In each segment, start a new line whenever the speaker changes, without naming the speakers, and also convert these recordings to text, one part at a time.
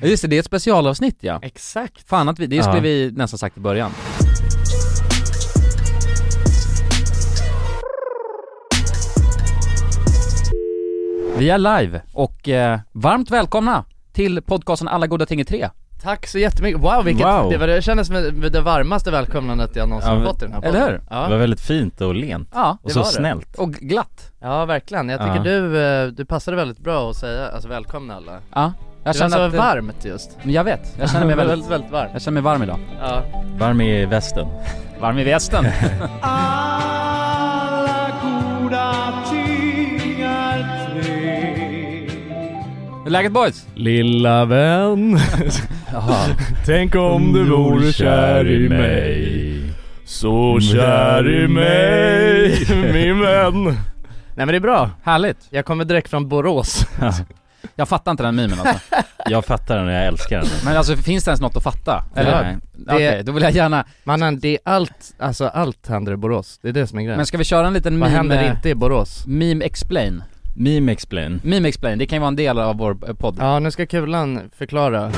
Ja, Just det, det är ett specialavsnitt ja.
Exakt.
Fan att vi, det skulle
Ja.
vi nästan sagt i början. Vi är live och eh, varmt välkomna till podcasten Alla goda ting i tre.
Tack så jättemycket. Wow vilket,
Wow.
det var det kändes som det varmaste välkomnandet jag någonsin
Ja, men-
fått i den här
eller
podden.
hur?
Det var
Ja,
väldigt fint och lent.
Ja,
Och
det
så
var det.
snällt.
och glatt.
ja verkligen. Jag tycker
Ja.
du, eh, du passade väldigt bra att säga, alltså välkomna alla.
Ja, jag
Det var
känner
så
att... eh,
varmt just.
Jag vet, jag känner mig väldigt,
väldigt, väldigt varmt.
jag känner mig varm idag.
Ja.
Varm i västen.
Varm i västen. Hur är läget boys?
Lilla vän, tänk om du vore kär i mig Så kär i mig, min vän
Nej men det är bra.
Härligt.
Jag kommer direkt från Borås.
Jag fattar inte den mimen alltså.
Jag fattar den och jag älskar den.
Men alltså finns det ens något att fatta? Eller?
Nej.
Okej, då vill jag gärna.
Mannen det är allt, alltså allt händer i Borås. Det är det som är grejen.
Men ska vi köra en liten
Vad
meme...
händer inte i Borås?
Meme explain.
Meme explain.
Meme explain, det kan ju vara en del av vår eh, podd.
Ja nu ska Kulan förklara.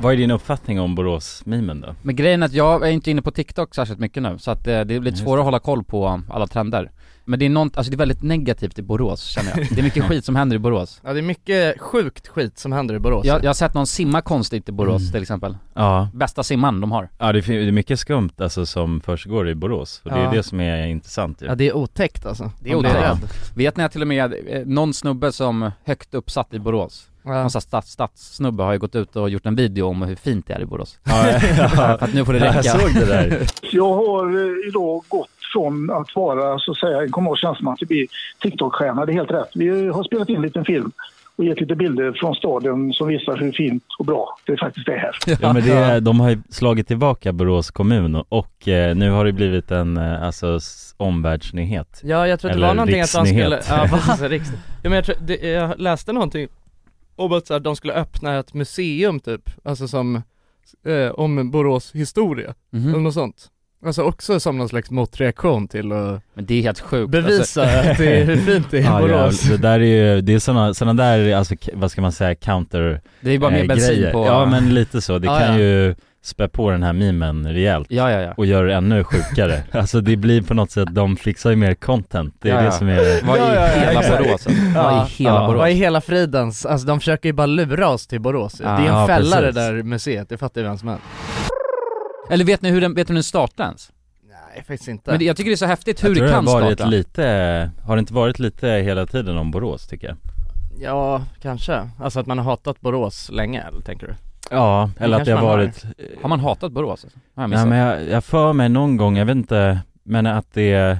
Vad är din uppfattning om Borås-memen då?
Men grejen är att jag är inte inne på TikTok särskilt mycket nu, så att eh, det är lite
det.
svårare att hålla koll på um, alla trender. Men det är nånt, alltså det är väldigt negativt i Borås känner jag. Det är mycket skit som händer i Borås.
Ja det är mycket sjukt skit som händer i Borås.
Jag, jag har sett någon simma konstigt i Borås
Mm.
till exempel.
Ja,
Bästa simman de har.
ja det, fin- det är mycket skumt alltså som försiggår i Borås. Och det är
Ja.
det som är intressant ju.
Ja det är otäckt alltså.
Det är
Man blir
otäckt.
rädd.
Vet ni att till och med eh, någon snubbe som högt uppsatt i Borås,
Ja.
någon sån här stats, statssnubbe har ju gått ut och gjort en video om hur fint det är i Borås.
Ja,
För att nu får det
jag
räcka.
såg det där.
Jag har eh, idag gått från att vara så att säga, en kommunal tjänsteman till att bli TikTok-stjärna. Det är helt rätt. Vi har spelat in en liten film och gett lite bilder från staden som visar hur fint och bra det faktiskt är här.
Ja men det, de har ju slagit tillbaka Borås kommun och, och eh, nu har det blivit en eh, alltså s- omvärldsnyhet.
Ja jag tror att det
Eller
var någonting att de skulle,
riksnyhet.
ja precis, riks... ja, men jag, tror, det, jag läste någonting om att så här, de skulle öppna ett museum typ, alltså som, eh, om Borås historia, eller
Mm.
Mhm.
något sånt Alltså också som någon slags motreaktion till att
Men det är helt sjukt. Alltså,
bevisa att det är, hur fint det är i
Ja,
Borås
jävlar. det där är ju, det är sådana, sådana där, alltså k- vad ska man säga, counter
det är ju bara mer
eh,
bensin
grejer.
på...
Ja men lite så, det
Ja,
kan
ja.
ju spä på den här mimen rejält
ja, ja, ja.
och göra det ännu sjukare. alltså det blir på något sätt, de fixar ju mer content, det är
Ja,
det
ja.
som är
Vad i
Ja, ja, ja,
hela
exakt.
Borås? alltså? Vad i hela
Ja.
Borås?
Vad är hela fridens, alltså de försöker ju bara lura oss till Borås Det är en
Ja,
fälla
precis.
det där museet, det fattar ju vem som helst
Eller vet ni hur den, vet ni hur den startar ens?
Nej faktiskt inte
Men det, jag tycker det är så häftigt hur
Jag tror
det kan
har varit
starta.
lite, har det inte varit lite hela tiden om Borås tycker jag?
Ja, kanske, alltså att man har hatat Borås länge eller tänker du?
Ja, eller att
kanske
det har
man har.
varit
Har man hatat Borås? alltså? Har
Nej
jag missat?
men jag, jag för mig någon gång, jag vet inte, men att det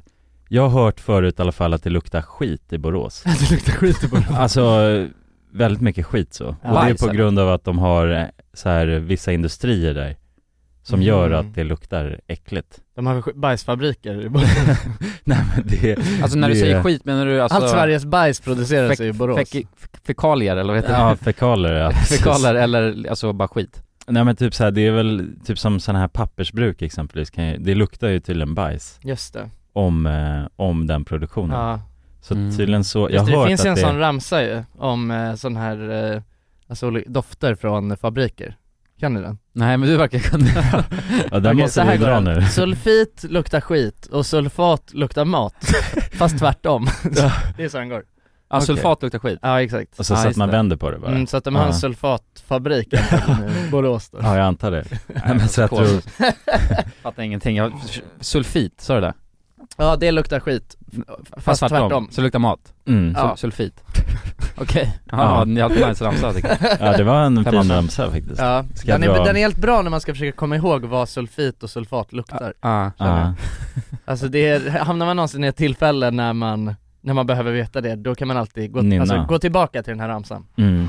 Jag har hört förut i alla fall att det luktar skit i Borås
det luktar skit i Borås
Alltså väldigt mycket skit så
Ja.
Och det är
Bajs,
på
eller?
grund av att de har eh, så här vissa industrier där Som gör
Mhm.
att det luktar äckligt
De har sk- bajsfabriker i Borås
Nej men det,
Alltså när du
det-
säger skit menar du alltså...
Allt Sveriges bajs produceras
fek-
i Borås
fek- fek- Fekalier eller vad heter det?
Ja fekaler ja precis.
Fekalier eller alltså bara skit.
Nej men typ så här, det är väl typ som sådana här pappersbruk exempelvis kan ju, Det luktar ju tydligen bajs
Just det,
om, eh, om den produktionen
ja.
Så
Mm.
tydligen så, jag
Just det,
har
det
hört
finns
att
ju en
det,
sån ramsa ju om eh, sån här, eh, alltså oli- dofter från fabriker Kan ni den?
Nej men du verkar kunna.
ja, den
Okej,
måste vi dra
den.
nu
Sulfit luktar skit och sulfat luktar mat, fast tvärtom Det är så den går
Ja,
Okej.
sulfat luktar skit.
Ja exakt
Och Alltså, så,
Ja,
så att
just
man
det.
vänder på det bara
mm, Så att de har en
Ja.
sulfatfabrik i Borås då
Ja jag antar det Nej men så jag
Kol.
tror,
Fattar ingenting. Jag, sulfit, sa du det?
Ja det luktar skit, fast, tvärtom,
Så luktar mat.
mm,
Sul-
Ja.
Sulfit. Okej. Ja,
Ja.
ni har en nice ramsa tycker jag.
ja det var en
Fem av
fin
fem.
ramsa faktiskt
Ja,
Ska jag
den är,
dra-
den är helt bra när man ska försöka komma ihåg vad sulfit och sulfat luktar
Ja.
känner jag.
Ja.
Alltså det är, hamnar man någonsin i ett tillfälle när man, när man behöver veta det, då kan man alltid gå,
Nynna.
alltså, gå tillbaka till den här ramsan
Mm.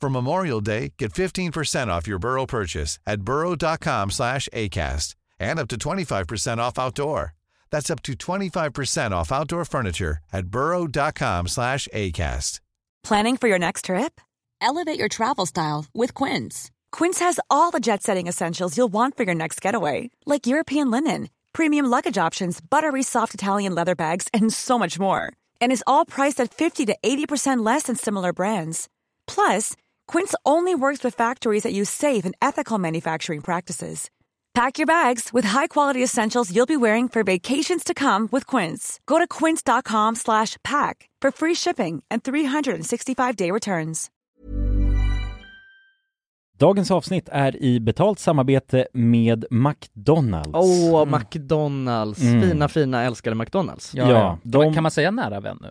For Memorial Day, get 15% off your Burrow purchase at burrow.com/acast and up to 25% off outdoor. That's up to 25% off outdoor furniture at burrow.com/acast.
Planning for your next trip? Elevate your travel style with Quince. Quince has all the jet setting essentials you'll want for your next getaway, like European linen, premium luggage options, buttery soft Italian leather bags, and so much more. And is all priced at 50 to 80% less than similar brands. Plus, Quince only works with factories that use safe and ethical manufacturing practices. Pack your bags with high-quality essentials you'll be wearing for vacations to come with Quince. Go to quince.com slash pack for free shipping and 365-day returns.
Dagens avsnitt är i betalt samarbete med McDonalds.
Åh, McDonalds,
Mm.
fina fina älskade McDonalds
Ja, de-
Kan man säga nära vän nu?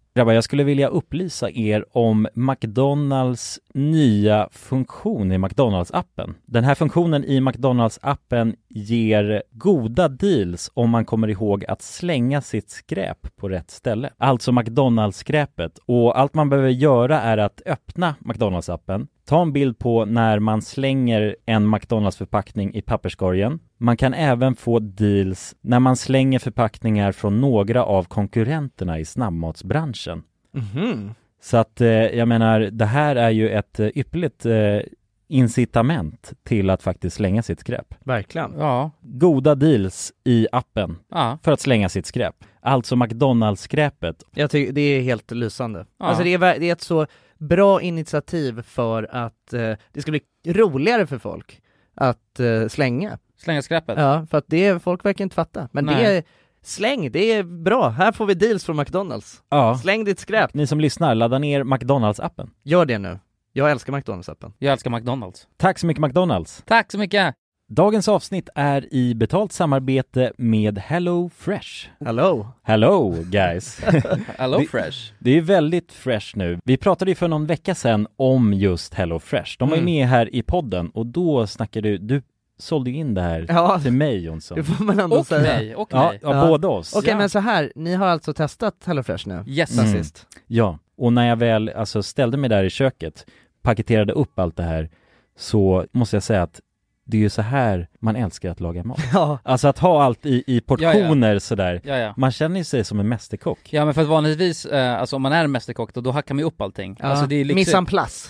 Grabbar, jag skulle vilja upplysa er om McDonalds nya funktion i McDonalds-appen. Den här funktionen i McDonalds-appen ger goda deals om man kommer ihåg att slänga sitt skräp på rätt ställe. Alltså McDonalds-skräpet. Och allt man behöver göra är att öppna McDonalds-appen, ta en bild på när man slänger en McDonalds-förpackning i papperskorgen. Man kan även få deals när man slänger förpackningar från några av konkurrenterna i snabbmatsbranschen.
Mhm.
Så att eh, jag menar, det här är ju ett eh, ypperligt eh, incitament till att faktiskt slänga sitt skräp.
Verkligen
Ja.
Goda deals i appen
Ja.
för att slänga sitt skräp. Alltså McDonalds-skräpet.
Jag tycker det är helt lysande.
Ja.
Alltså det är, ver- det är ett så bra initiativ för att eh, det ska bli roligare för folk att eh, slänga.
Slänga skräpet.
Ja, för att det, folk verkar inte fatta. Men det
Nej.
är, släng, det är bra. Här får vi deals från McDonalds.
Ja.
Släng ditt skräp.
Ni som lyssnar, ladda ner McDonalds-appen.
Gör det nu. Jag älskar McDonalds-appen.
Jag älskar McDonalds.
Tack så mycket McDonalds!
Tack så mycket!
Dagens avsnitt är i betalt samarbete med Hello Fresh.
Hello!
Hello guys!
Hello
Det-
Fresh.
Det är väldigt fresh nu. Vi pratade ju för någon vecka sedan om just Hello Fresh. De var ju
Mm.
med här i podden och då snackade du, du sålde ju in det här
Ja,
till mig Jonsson.
det får man ändå
Och
säga.
mig, och
Ja,
mig.
ja,
Ja.
båda oss.
Okej,
Ja.
men så här, ni har alltså testat HelloFresh nu?
Yes.
Sen
Mm.
sist?
Ja, och när jag väl alltså, ställde mig där i köket, paketerade upp allt det här, så måste jag säga att det är ju så här man älskar att laga mat.
Ja.
Alltså att ha allt i, i portioner sådär.
Ja, ja.
Man känner ju sig som en mästerkock.
Ja men för att vanligtvis, eh, alltså om man är en mästerkock då, då hackar man ju upp allting.
Ja.
Alltså det är liksom,
Mise en place.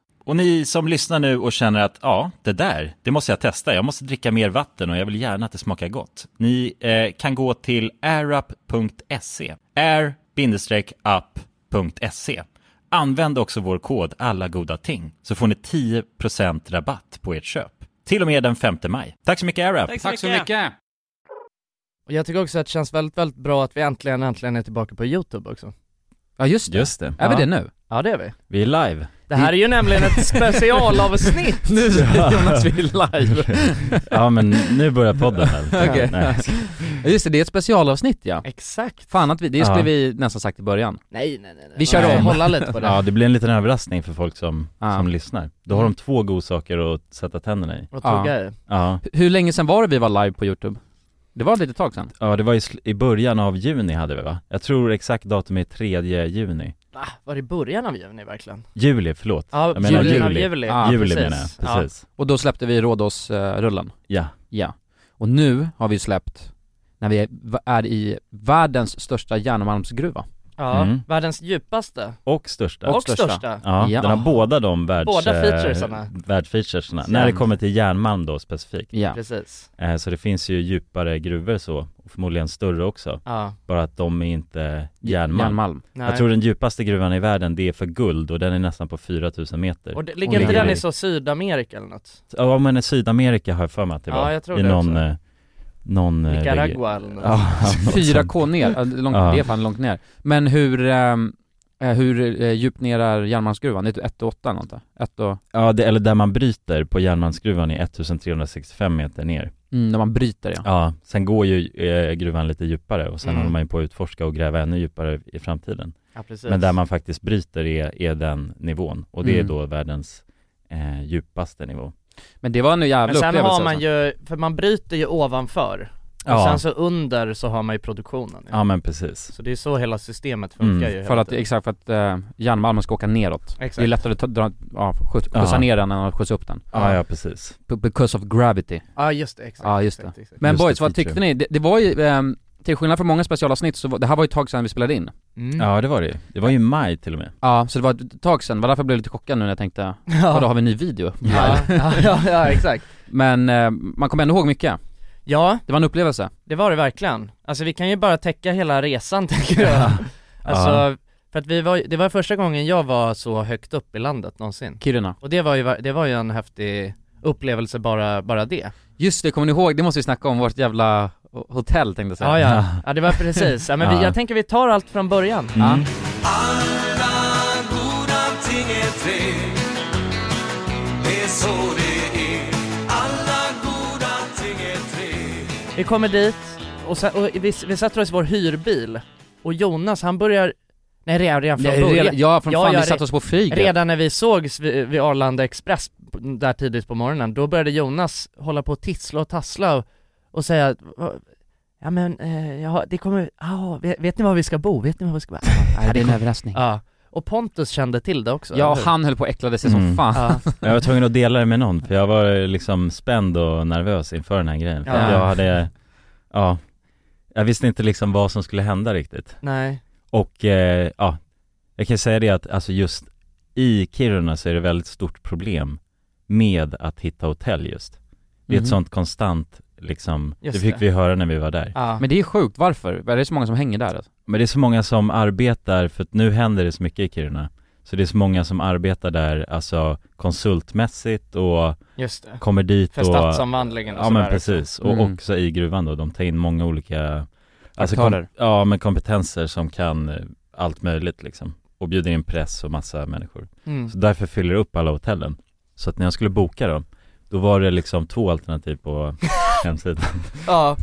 Och ni som lyssnar nu och känner att ja, det där, det måste jag testa. Jag måste dricka mer vatten och jag vill gärna att det smakar gott. Ni eh, kan gå till airup.se. air-up.se. Använd också vår kod alla goda ting så får ni 10% rabatt på ert köp. Till och med den 5 maj. Tack så mycket Airup!
Tack så mycket.
Och jag tycker också att det känns väldigt, väldigt bra att vi äntligen, äntligen är tillbaka på YouTube också.
Ja just det.
Just det.
Är vi
Ja.
det nu?
Ja det är vi.
Vi är live.
Det här är ju nämligen ett specialavsnitt!
Nu Jonas, vi är live.
Ja men nu börjar podden väl?
Okej.
Nej.
Ja, Just det, det är ett specialavsnitt ja.
Exakt.
Fan att vi, det skulle
Ja.
vi nästan sagt i början.
Nej nej nej. nej.
Vi kör
Man ska
om.
Hålla lite på det.
Ja det blir en liten överraskning för folk som,
Ja.
som lyssnar. Då har de två godsaker att sätta tänderna i.
Och tugga i.
Ja,
H- Hur länge sedan var det vi var live på YouTube? Det var ett litet tag sedan.
ja det var i, sl- i början av juni hade vi va? Jag tror exakt datum är 3 juni.
Ah, var det i början av juni verkligen?
Juli, förlåt.
Ja,
Jag menar
början av
juli.
juli.
Ja,
juli
precis.
menar jag,
Ja.
precis.
Och då släppte vi eh, Rhodos-rullen.
Ja.
Ja. Och nu har vi släppt, när vi är- är i världens största järnmalmsgruva.
Ja,
Mm.
världens djupaste
Och största.
och,
största.
största.
Ja,
Ja.
den har båda de världs,
Båda
eh,
featuresarna.
världsfeaturesarna.
Sen.
När det kommer till järnmalm då specifikt.
Ja.
Precis.
Eh, Så det finns ju djupare gruvor så, och förmodligen större också.
Ja,
Bara att de är inte järnmalm.
Järnmalm.
nej.
Jag tror den djupaste gruvan i världen, det är för guld och den är nästan på 4000 meter.
Och det,
Och
ligger inte den
ligger
i så Sydamerika eller något?
Ja men i Sydamerika har jag för mig att det
Ja,
var.
jag tror
I
det
någon,
också.
eh, någon... eh, region.
Nicaragua eller något?
Ja, något sånt.
4K ner, Ja, det är långt,
Ja.
det är fan långt ner. Men hur, ehm, eh, hur eh, djupt ner är järnmalmsgruvan? Det är typ 1 8 eller något där. Ett och,
Ja, det, eller där man bryter på järnmalmsgruvan är 1365 meter ner.
mm, när man bryter ja.
Ja, sen går ju eh, gruvan lite djupare och sen
Mm.
håller man ju på att utforska och gräva ännu djupare i framtiden.
Ja, precis.
Men där man faktiskt bryter är, är den nivån och det
Mm.
är då världens eh, djupaste nivå.
Men det var en jävla
Men sen
upplevelse
har man
alltså.
ju, för man bryter ju ovanför och
Ja,
sen så under så har man ju produktionen ju.
ja men precis.
Så det är så hela systemet funkar
Mm,
ju
För
hela
att,
tiden.
exakt, för att eh, järnmalmen ska åka neråt. Det är
Exakt.
lättare att ta, dra, ja, skjuts,
Ja.
skjutsa ner den än att skjutsa upp den.
Ja, ja precis.
B- Because of gravity.
Ja just det, exakt.
Ja, just
exakt, exakt.
Men
Just
boys,
det,
vad
feature.
tyckte ni? Det, det var ju, ehm, till skillnad från många specialavsnitt så var, det här var ju ett tag sedan vi spelade in.
Mm.
Ja, det var det ju. Det var ju i maj till och med.
Ja, så det var ett tag sedan. Det var därför jag blev lite chockad nu när jag tänkte,
Ja.
vadå har vi en ny video?
Ja, ja, ja, ja, exakt.
Men eh, man kommer ändå ihåg mycket.
Ja,
Det var en upplevelse.
det var det verkligen. Alltså vi kan ju bara täcka hela resan tänker jag. Alltså, för att vi var, det var första gången jag var så högt upp i landet någonsin.
Kiruna.
Och det var ju, det var ju en häftig upplevelse bara, bara det.
Just det, kommer ni ihåg? Det måste vi snacka om, vårt jävla ho- hotell tänkte jag säga.
Ja, ja. ja det var precis. Ja, men vi,
Ja.
jag tänker vi tar allt från början.
Mm.
Vi kommer dit och, sen, och vi, vi sätter oss i vår hyrbil och Jonas han börjar, nej redan, redan från
Nej,
början.
redan, ja, från
Ja,
fan
ja,
vi satte
re-
oss på flyget.
Redan när vi sågs vid, vid Arlanda Express p- där tidigt på morgonen, då började Jonas hålla på och tissla och tassla och, och säga att, "Va- Ja men, eh, ja, det kommer, ah, vet, vet ni var vi ska bo? Vet ni var vi ska bo?
Nej, det är en överraskning.
Ja, och Pontus kände till det också
Ja,
eller hur?
han höll på att äckla sig som
Mm.
fan.
Ja,
Jag var tvungen att dela det med någon för jag var liksom spänd och nervös inför den här grejen. För att
Ja.
jag hade, ja, jag visste inte liksom vad som skulle hända riktigt.
nej,
Och eh, ja, jag kan säga det att alltså just i Kiruna så är det väldigt stort problem med att hitta hotell just. Det är
Mhm.
ett sånt konstant liksom,
Just
det fick
det.
vi höra när vi var där.
ja,
Men det är sjukt, varför? Är det så många som hänger där? Alltså?
Men det är så många som arbetar, för att nu händer det så mycket i Kiruna. Så det är så många som arbetar där, alltså konsultmässigt och
just det
kommer dit
För
och
stadsomvandlingen och
Ja
sådär liksom.
men precis, och
Mm.
också i gruvan då, de tar in många olika alltså,
Aktörer.
Ja men kompetenser som kan eh, allt möjligt liksom Och bjuder in press och massa människor
Mm.
Så därför fyller det upp alla hotellen Så att när jag skulle boka då, Då var det liksom två alternativ på hemsidan.
Ja,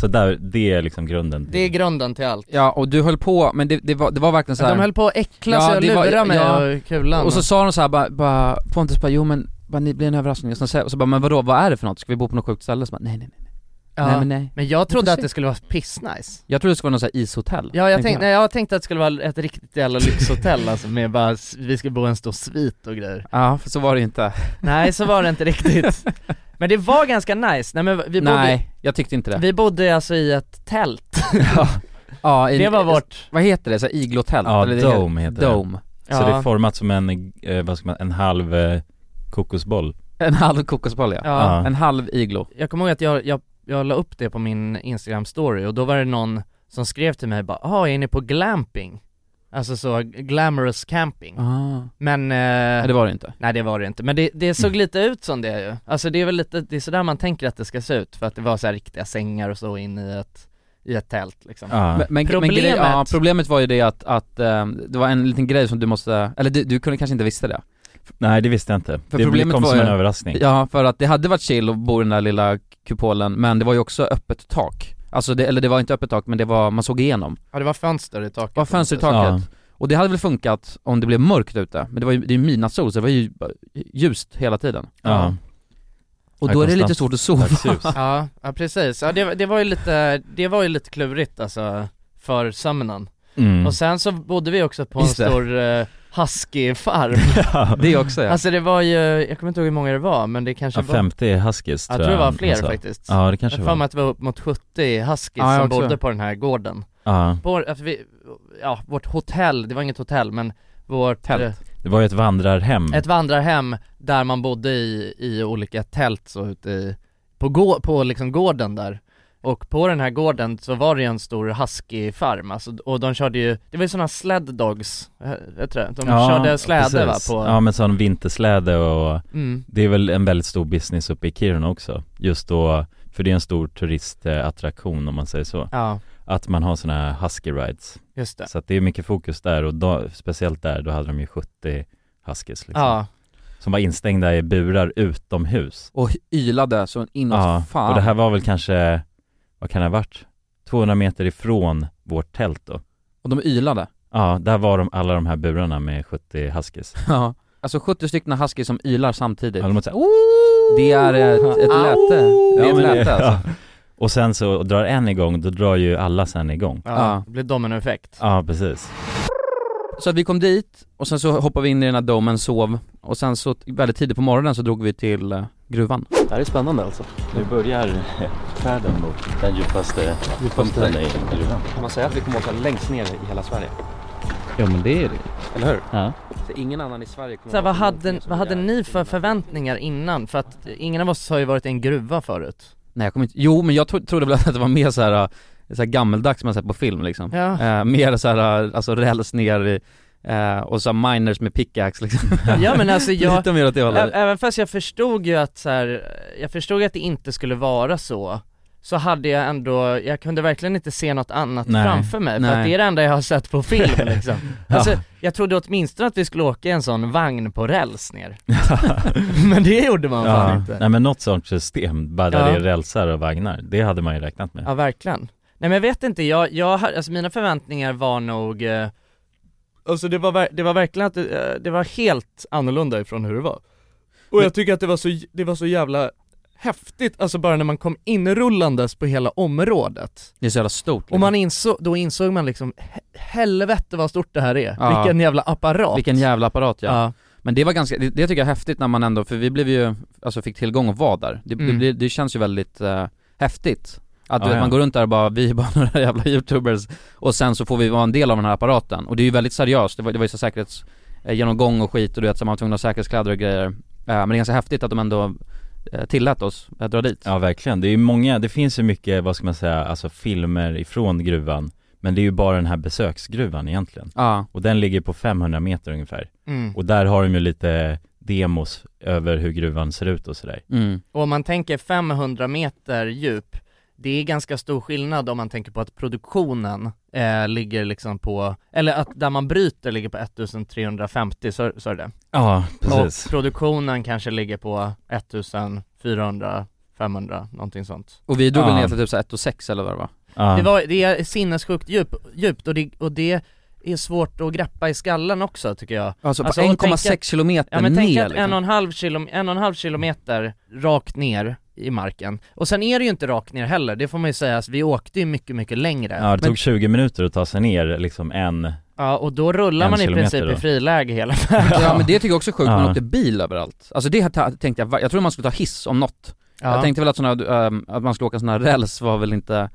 Så där, det är liksom grunden.
det är grunden till allt.
Ja, och du höll på, men det, det, var, det var verkligen så här.
De höll på att äckla sig
Ja,
och
det var-
lura mig
ja.
och kulan.
Och så sa de så här, bara, bara, Pontus bara, jo men, bara, ni blir en överraskning. Och så, sa- och så bara, men vadå, vad är det för något? Ska vi bo på något sjukt ställe? Så bara, nej nej nej.
ja.
Nej men
men,
nej.
jag
Vi får
trodde att
se.
det skulle vara pissnice.
Jag trodde det skulle vara något så här ishotell.
Ja, jag
Tänkte
tänkte, nej, jag tänkte att det skulle vara ett riktigt jävla lyxhotell alltså, med bara, s- vi skulle bo i en stor svit och grejer.
Ja, för så var det ju inte.
Nej, så var det inte riktigt. Men det var ganska nice, nej men vi bodde,
Nej, jag tyckte inte det.
vi bodde alltså i ett tält.
ja, i-
Det var vårt,
Vad heter det? Så här iglotält?
Ja,
Eller det
dome heter det.
Dome.
Så det
ja,
är format som en, eh, vad ska man, en halv eh, kokosboll.
En halv kokosboll ja.
ja.
En halv iglo.
Jag kommer ihåg att jag, jag, jag la upp det på min instagram-story och då var det någon som skrev till mig bara ah, är ni på glamping?' Alltså så, glamorous camping.
Ah.
Men eh,
Nej det var Mm. det inte.
Nej det var det inte, men det, det såg lite ut som det ju. Alltså det är väl lite, det är sådär man tänker att det ska se ut, för att det var så här riktiga sängar och så in i ett, i ett tält liksom.
Ja.
Men, men, men grej,
Problemet-
ja, problemet var ju det att, att ehm, det var en liten grej som du måste, eller du, du kunde kanske inte visste det.
Nej det visste jag inte.
För
det
problemet
kom
var
som
ju-
en överraskning.
Ja, för att det hade varit chill att bo i den där lilla kupolen, men det var ju också öppet tak. Alltså det, eller det var inte öppet tak, men det var, man såg igenom.
Ja det var fönster i taket.
Det var fönster i taket.
Ja.
Och det hade väl funkat om det blev mörkt ute, men det var ju, det är ju midnattssol så det var ju bara ljust hela tiden.
Ja.
Och
Här
då är det
konstant
lite svårt att sova.
Dagsljus.
Ja, ja precis. Ja det, det var ju lite, det var ju lite klurigt alltså, för sömnen.
Mm.
Och sen så bodde vi också på en
Just det.
stor uh, husky-farm.
Ja.
Det också ja.
Alltså det var ju, jag kommer inte ihåg hur många det var, men det kanske
Ja,
var,
50 huskies
jag tror det var
han
fler
sa.
faktiskt.
alltså. Ja det
Jag
kanske
har för mig
var.
att det var upp mot 70 huskies
Ja, jag
som
också.
bodde på den här gården.
Ja.
På, alltså vi, ja, vårt hotell, det var inget hotell men vårt,
Tält.
eh,
Det var ju ett vandrarhem.
ett vandrarhem där man bodde i, i olika tält så ute i, på, gå, på liksom gården där. Och på den här gården så var det ju en stor husky-farm, alltså, och de körde ju, det var ju sådana sled dogs, eh, jag tror det. de
Ja,
körde släde va
precis.
på,
Ja men sån vintersläde och
mm,
det är väl en väldigt stor business uppe i Kiruna också. Just då, för det är en stor turistattraktion om man säger så.
ja,
Att man har såna här husky rides.
just det.
Så att det är mycket fokus där och då, speciellt där, då hade de ju 70 huskies liksom.
Ja,
Som var instängda i burar utomhus.
Och ylade så inåt
Ja,
fan.
och det här var väl kanske, vad kan det ha varit? 200 meter ifrån vårt tält då.
och de ylade.
Ja, där var de, alla de här burarna med 70 huskies.
Ja. Alltså 70 stycken huskies som ylar samtidigt.
Alla de så här,
Det är ett, ett läte. Det är
Ja,
ett
men det-
läte alltså.
ja. Och sen så drar en igång, då drar ju alla sen igång.
ja,
Ja.
det blev dominoeffekt.
Ja, precis.
Så att vi kom dit och sen så hoppade vi in i den här domen, sov och sen så t- väldigt tidigt på morgonen så drog vi till eh, gruvan.
Det här är spännande alltså. Nu börjar färden mot den djupaste punkten i gruvan.
Kan man säga att vi kommer åka längst ner i hela Sverige?
Ja, men det är det.
Eller hur?
Ja.
Så ingen annan i Sverige kommer
Så här, vad, hade, vad hade ni för förväntningar innan? För att ingen av oss har ju varit i en gruva förut.
Nej jag kommer inte, jo men jag tro, trodde väl att det var mer så här, eh, så här gammeldags som man sett på film liksom.
Ja.
Eh, mer så här, eh, alltså räls ner i, eh, och så här miners med pickaxe liksom.
Ja men alltså jag,
Lite mer åt det
ä-
hållet.
även fast jag förstod ju att så här, jag förstod att det inte skulle vara så, så hade jag ändå, jag kunde verkligen inte se något annat
Nej.
framför mig, för
Nej.
att det är det enda jag har sett på film liksom. Alltså jag trodde åtminstone att vi skulle åka i en sån vagn på räls ner. men det gjorde man fan
Ja.
inte.
Nej men något sånt system, bara där
Ja.
det är rälsar och vagnar, det hade man ju räknat med.
Ja verkligen. Nej men jag vet inte, jag, jag har- alltså mina förväntningar var nog eh, Alltså det var, ver- det var verkligen att det, eh, det var helt annorlunda ifrån hur det var Och jag tycker att det var så, det var så jävla häftigt, alltså bara när man kom inrullandes på hela området
Det är så jävla stort. Liksom.
Och man insåg, då insåg man liksom he- helvete vad stort det här är,
Ja.
vilken jävla apparat
liksom. Vilken jävla apparat ja.
ja.
Men det var ganska, det, det tycker jag är häftigt när man ändå, för vi blev ju, alltså fick tillgång och var där. Det, det,
Mm.
blir- det känns ju väldigt eh, häftigt. Att du
Ja,
vet,
ja.
man går runt där och bara, vi är bara några jävla youtubers och sen så får vi vara en del av den här apparaten. Och det är ju väldigt seriöst, det var, det var ju så säkerhetsgenomgång och skit och du vet så man var tvungen att ha säkerhetskläder och grejer. Eh, men det är ganska häftigt att de ändå eh, tillät oss att dra dit.
Ja verkligen, det är ju många, det finns ju mycket, vad ska man säga, alltså filmer ifrån gruvan Men det är ju bara den här besöksgruvan egentligen
Ja.
Och den ligger på 500 meter ungefär
mm.
Och där har de ju lite demos över hur gruvan ser ut och sådär
Mm.
Och om man tänker 500 meter djup det är ganska stor skillnad om man tänker på att produktionen eh, ligger liksom på, eller att där man bryter ligger på 1350, sa sa du det?
Ja, precis.
Och produktionen kanske ligger på 1400, 500, någonting sånt.
Och vi drog väl
Ja.
ner till typ så här 1 och 6 eller vad det var?
Ja.
Det, var, det är sinnessjukt djup, djupt och det, och det är svårt att greppa i skallen också tycker jag.
Alltså,
Alltså, och
på 1,6
tänk att-
kilometer
Ja men
ner
tänk att en
liksom.
och en, halv kilo, en och en halv kilometer rakt ner i marken. Och sen är det ju inte rakt ner heller, det får man ju säga, alltså, vi åkte ju mycket, mycket längre.
Ja, det
Men-
tog 20 minuter att ta sig ner liksom en
ja och då rullar
en
man i princip
kilometer
i
då.
friläge hela vägen.
Ja men det tycker jag också är sjukt, man
Ja.
åkte bil överallt. Alltså det ta- tänkte jag, var- jag trodde man skulle ta hiss om något.
Ja.
Jag tänkte väl att, såna, ehm, att man skulle åka sån här räls var väl inte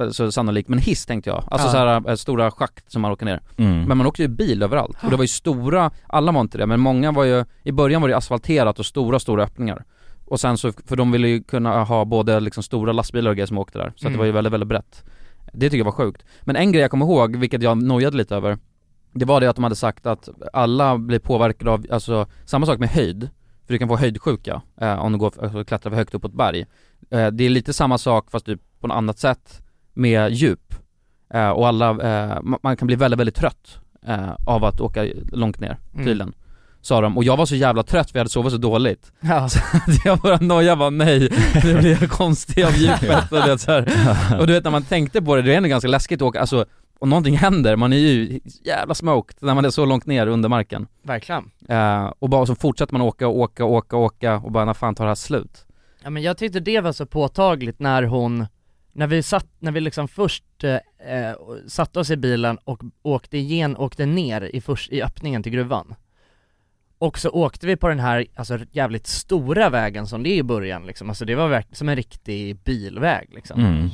eh, så sannolikt, men hiss tänkte jag. Alltså
Ja.
så här eh, stora schakt som man åker ner.
mm.
Men man åkte ju bil överallt och det var ju stora, alla var inte det, men många var ju, i början var det ju asfalterat och stora, stora öppningar. Och sen så, för de ville ju kunna ha både liksom stora lastbilar och grejer som åkte där, så att
Mm.
det var ju väldigt, väldigt brett. Det tycker jag var sjukt. Men en grej jag kommer ihåg, vilket jag nojade lite över, det var det att de hade sagt att alla blir påverkade av, alltså samma sak med höjd, för du kan få höjdsjuka eh, om du går, alltså, klättrar för högt upp på ett berg. Eh, det är lite samma sak fast typ på något annat sätt med djup. Eh, och alla, eh, ma- man kan bli väldigt, väldigt trött eh, av att åka långt ner
Mm.
tydligen. Sa de, och jag var så jävla trött för jag hade sovit så dåligt.
Ja.
att jag bara noja bara nej, nu blir jag konstig av djupet och det så här. Och du vet när man tänkte på det, det är ändå ganska läskigt att åka, alltså om någonting händer, man är ju jävla smoked när man är så långt ner under marken.
Verkligen.
Eh, och bara så fortsätter man åka och åka och åka och åka och bara när fan tar det här slut?
Ja men jag tyckte det var så påtagligt när hon, när vi satt, när vi liksom först eh, eh, satte oss i bilen och åkte igen, åkte ner i, först, i öppningen till gruvan. Och så åkte vi på den här, alltså jävligt stora vägen som det är i början liksom, alltså det var verkligen som en riktig bilväg liksom.
Mm.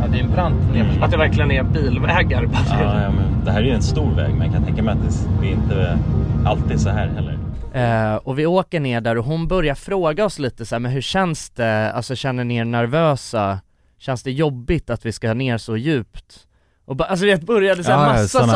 Ja det är en brant nedför. Att det verkligen är bilvägar
Ja, ja, men det här är ju en stor väg men jag kan tänka mig att det- det är inte alltid så här heller.
Eh, och vi åker ner där och hon börjar fråga oss lite så här, men hur känns det, alltså känner ni er nervösa? Känns det jobbigt att vi ska ner så djupt? Och ba, alltså det började så här massa
såna,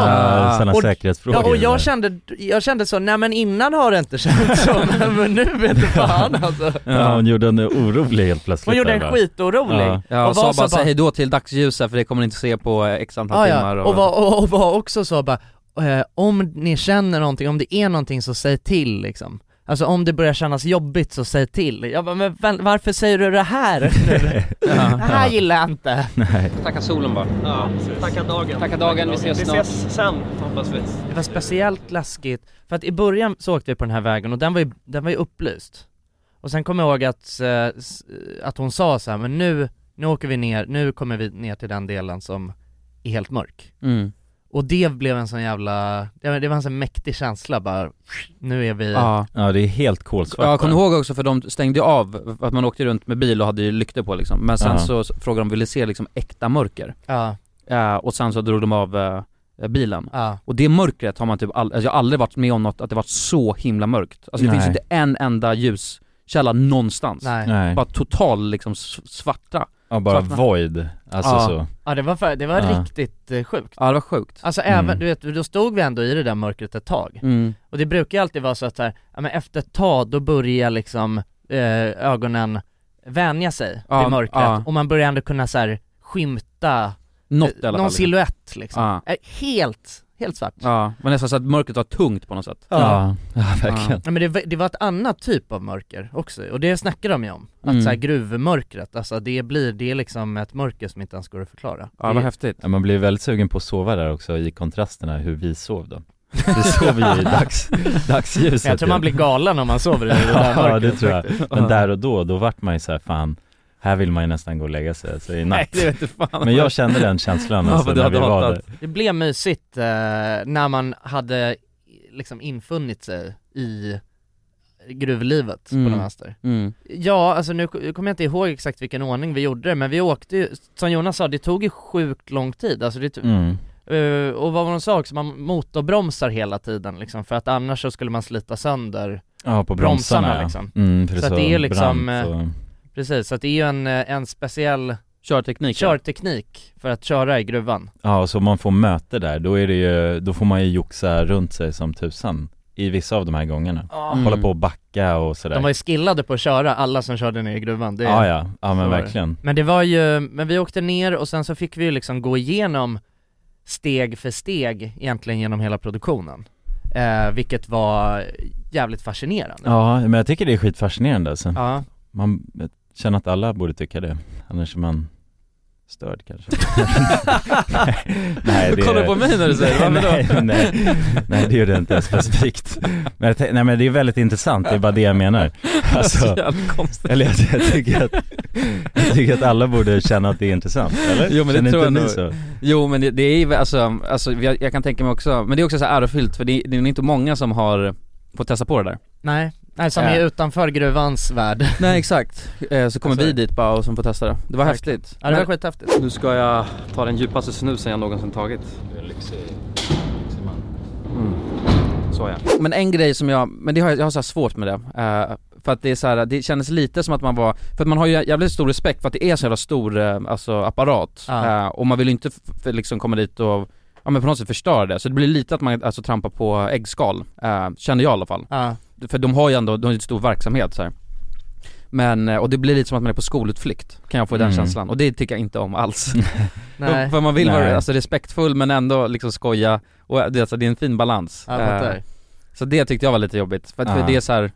sånt.
såna
Och-
säkerhetsfrågor.
Ja och jag
där.
kände, jag kände så, nej men innan har det inte känts så, men, men nu vet du fan alltså.
ja, hon gjorde en orolig helt plötsligt.
Hon gjorde
där,
en
va?
skitorolig.
Ja.
Ja, och
var
sa
så
bara säg hejdå till dagsljuset för det kommer ni inte se på eh, x antal
Ah,
timmar
ja. och, var, och, och var också så bara, eh, om ni känner någonting, om det är någonting så säg till liksom. Alltså om det börjar kännas jobbigt så säg till. Jag bara, men vän, varför säger du det här nu? Det här gillar jag inte.
Nej.
Tacka solen bara.
Ja, tacka dagen.
Tacka dagen, vi ses
Vi
snart.
ses sen hoppas vi.
Det var speciellt läskigt, för att i början så åkte vi på den här vägen och den var ju, den var ju upplyst. Och sen kommer jag ihåg att, eh, s- att hon sa så här, men nu, nu åker vi ner, nu kommer vi ner till den delen som är helt mörk.
Mm.
Och det blev en sån jävla, det var det var en sån mäktig känsla bara, nu är vi
Ja.
Ja, det är helt kolsvart.
Ja, jag kommer
där.
ihåg också för de stängde ju av, för att man åkte runt med bil och hade ju lykter på liksom. Men sen
Ja.
så s- frågade de, vill ni se liksom äkta mörker?
Ja,
Eh, och sen så drog de av eh, bilen.
ja,
Och det mörkret har man typ all, alltså jag har aldrig varit med om något, att det varit så himla mörkt. Alltså det
Nej.
finns inte en enda ljuskälla någonstans.
nej.
Nej.
Bara total liksom s- svarta.
Ja, bara
Svartna.
void. Alltså
Ja.
så.
Ja det var, för, det var
Ja.
riktigt eh, sjukt.
Ja det var sjukt.
Alltså
Mm.
även, du vet, då stod vi ändå i det där mörkret ett tag.
Mm.
Och det brukar ju alltid vara så att så här, ja, men efter ett tag då börjar liksom eh, ögonen vänja sig
Ja,
vid mörkret
ja.
och man börjar ändå kunna så här, skymta
Något
eh,
i alla
någon
fall.
silhuett liksom.
Ja.
Eh, Helt, helt svart. Ja.
Ja, men nästan så att mörkret var tungt på något sätt.
Ja, ja verkligen.
men det, var- det var ett annat typ av mörker också, och det snackar de ju om. Att
Mm.
så här gruvmörkret, alltså det blir, det är liksom ett mörker som inte ens går att förklara.
Ja
det,
vad häftigt.
Ja, man blir väldigt sugen på att sova där också i kontrasterna hur vi sov då. Vi sov ju i dags, dagsljuset.
Men jag tror
ju.
man blir galen om man sover i det där
Ja,
mörkret.
det tror jag. Men
Ja.
där och då, då vart man ju så här, fan, här vill man ju nästan gå och lägga sig, så i
Nej
natt.
det vete fan.
Men jag kände den känslan
Ja,
alltså,
för du
när
hade
vi var
hatat.
där.
Det blev mysigt eh, när man hade liksom infunnit sig i gruvlivet på
Mm.
den vänster.
Mm.
Ja, alltså nu k- kommer jag inte ihåg exakt vilken ordning vi gjorde det, men vi åkte ju, som Jonas sa, det tog ju sjukt lång tid, alltså det tog,
Mm.
eh, och vad var de sa också, man motorbromsar hela tiden liksom, för att annars så skulle man slita sönder,
Ja, på
Bromsarna,
bromsarna, ja.
liksom.
Mm, för
Så att det är ju liksom,
brant och...
precis, så att det är ju en, eh, en speciell
Körteknik. ja.
körteknik för att köra i gruvan.
Ja, och så om man får möte där, då är det ju, då får man ju joxa runt sig som tusan i vissa av de här gångerna.
Ja.
Mm.
Hålla på och backa och sådär.
Mm. De var ju skillade på att köra, alla som körde ner i gruvan. Det,
Ja, ja, ja
så
men
var det.
verkligen.
Men det var ju, men vi åkte ner och sen så fick vi ju liksom gå igenom steg för steg egentligen genom hela produktionen. Eh, vilket var jävligt fascinerande.
Ja, men jag tycker det är skitfascinerande alltså.
Ja.
Man jag känner att alla borde tycka det, annars är man störd kanske
Du kollar på mig när du säger det,
nej,
varför då?
nej, nej, nej det gjorde jag inte specifikt men jag, tän- Nej men det är väldigt intressant, det är bara det jag menar
Så
alltså,
jävla konstigt.
Eller jag, jag, tycker att, jag tycker att alla borde känna att det är intressant, eller?
Jo, men
Känner
det tror
inte
jag
ni så?
Jo men det, det är ju alltså, alltså jag, jag kan tänka mig också, men det är också så här ärofyllt för det, det är inte många som har fått testa på det där
Nej, nej som är
Eh.
utanför gruvans värld.
Nej exakt, eh, så kommer
Alltså-
vi dit bara och som får testa det. Det var
Tack.
häftigt
Ja det var
Men-
skithäftigt.
Nu ska jag ta den djupaste snusen jag någonsin tagit. Mm. Så ja.
Men en grej som jag, men det har jag, jag har så här svårt med det, eh, för att det är så här, det kändes lite som att man var, för att man har ju jävligt stor respekt för att det är så jävla stor, eh, alltså apparat,
Ja.
eh, och man vill ju inte f- f- liksom komma dit och, ja men på något sätt förstöra det, så det blir lite att man alltså trampar på äggskal, eh, kände jag i alla fall.
Ja,
För de har ju ändå, de har ju en stor verksamhet så här. Men, eh, och det blir lite som att man är på skolutflykt, kan jag få den
Mm.
känslan, och det tycker jag inte om alls
nej.
För man vill
Nej.
vara alltså, respektfull men ändå liksom skoja, och det, alltså, det är en fin balans
Ja, jag
Eh,
fattar.
så det tyckte jag var lite jobbigt, för, att
Ja.
för det är så här,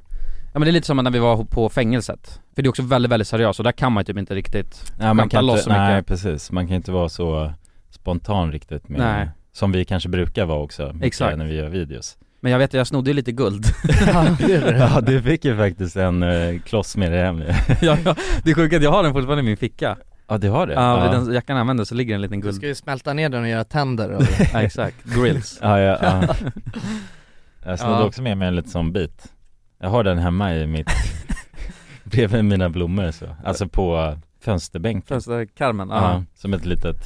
ja men det är lite som när vi var på fängelset För det är också väldigt, väldigt seriöst och där kan man ju typ inte riktigt
Nej man
Skämta
kan
loss
inte,
så
nej
mycket.
precis, man kan inte vara så spontan riktigt med
Nej.
Som vi kanske brukar vara också, mycket
Exakt.
när vi gör videos
Men jag vet, jag snodde ju lite guld
Ja du fick ju faktiskt en eh, kloss med dig hem ju.
ja, ja, Det är sjukt att jag har den fortfarande i min ficka
Ja du har det?
Ja,
ja.
vid den jackan jag använder så ligger en liten
Du
guld,
ska ju smälta ner den och göra tänder och...
ja, exakt, grills
ja, ja, ja. Jag snodde
Ja.
också med mig en liten sån bit Jag har den hemma i mitt, bredvid mina blommor så, alltså på fönsterbänken
Fönster, Carmen, ja.
Ja, som ett litet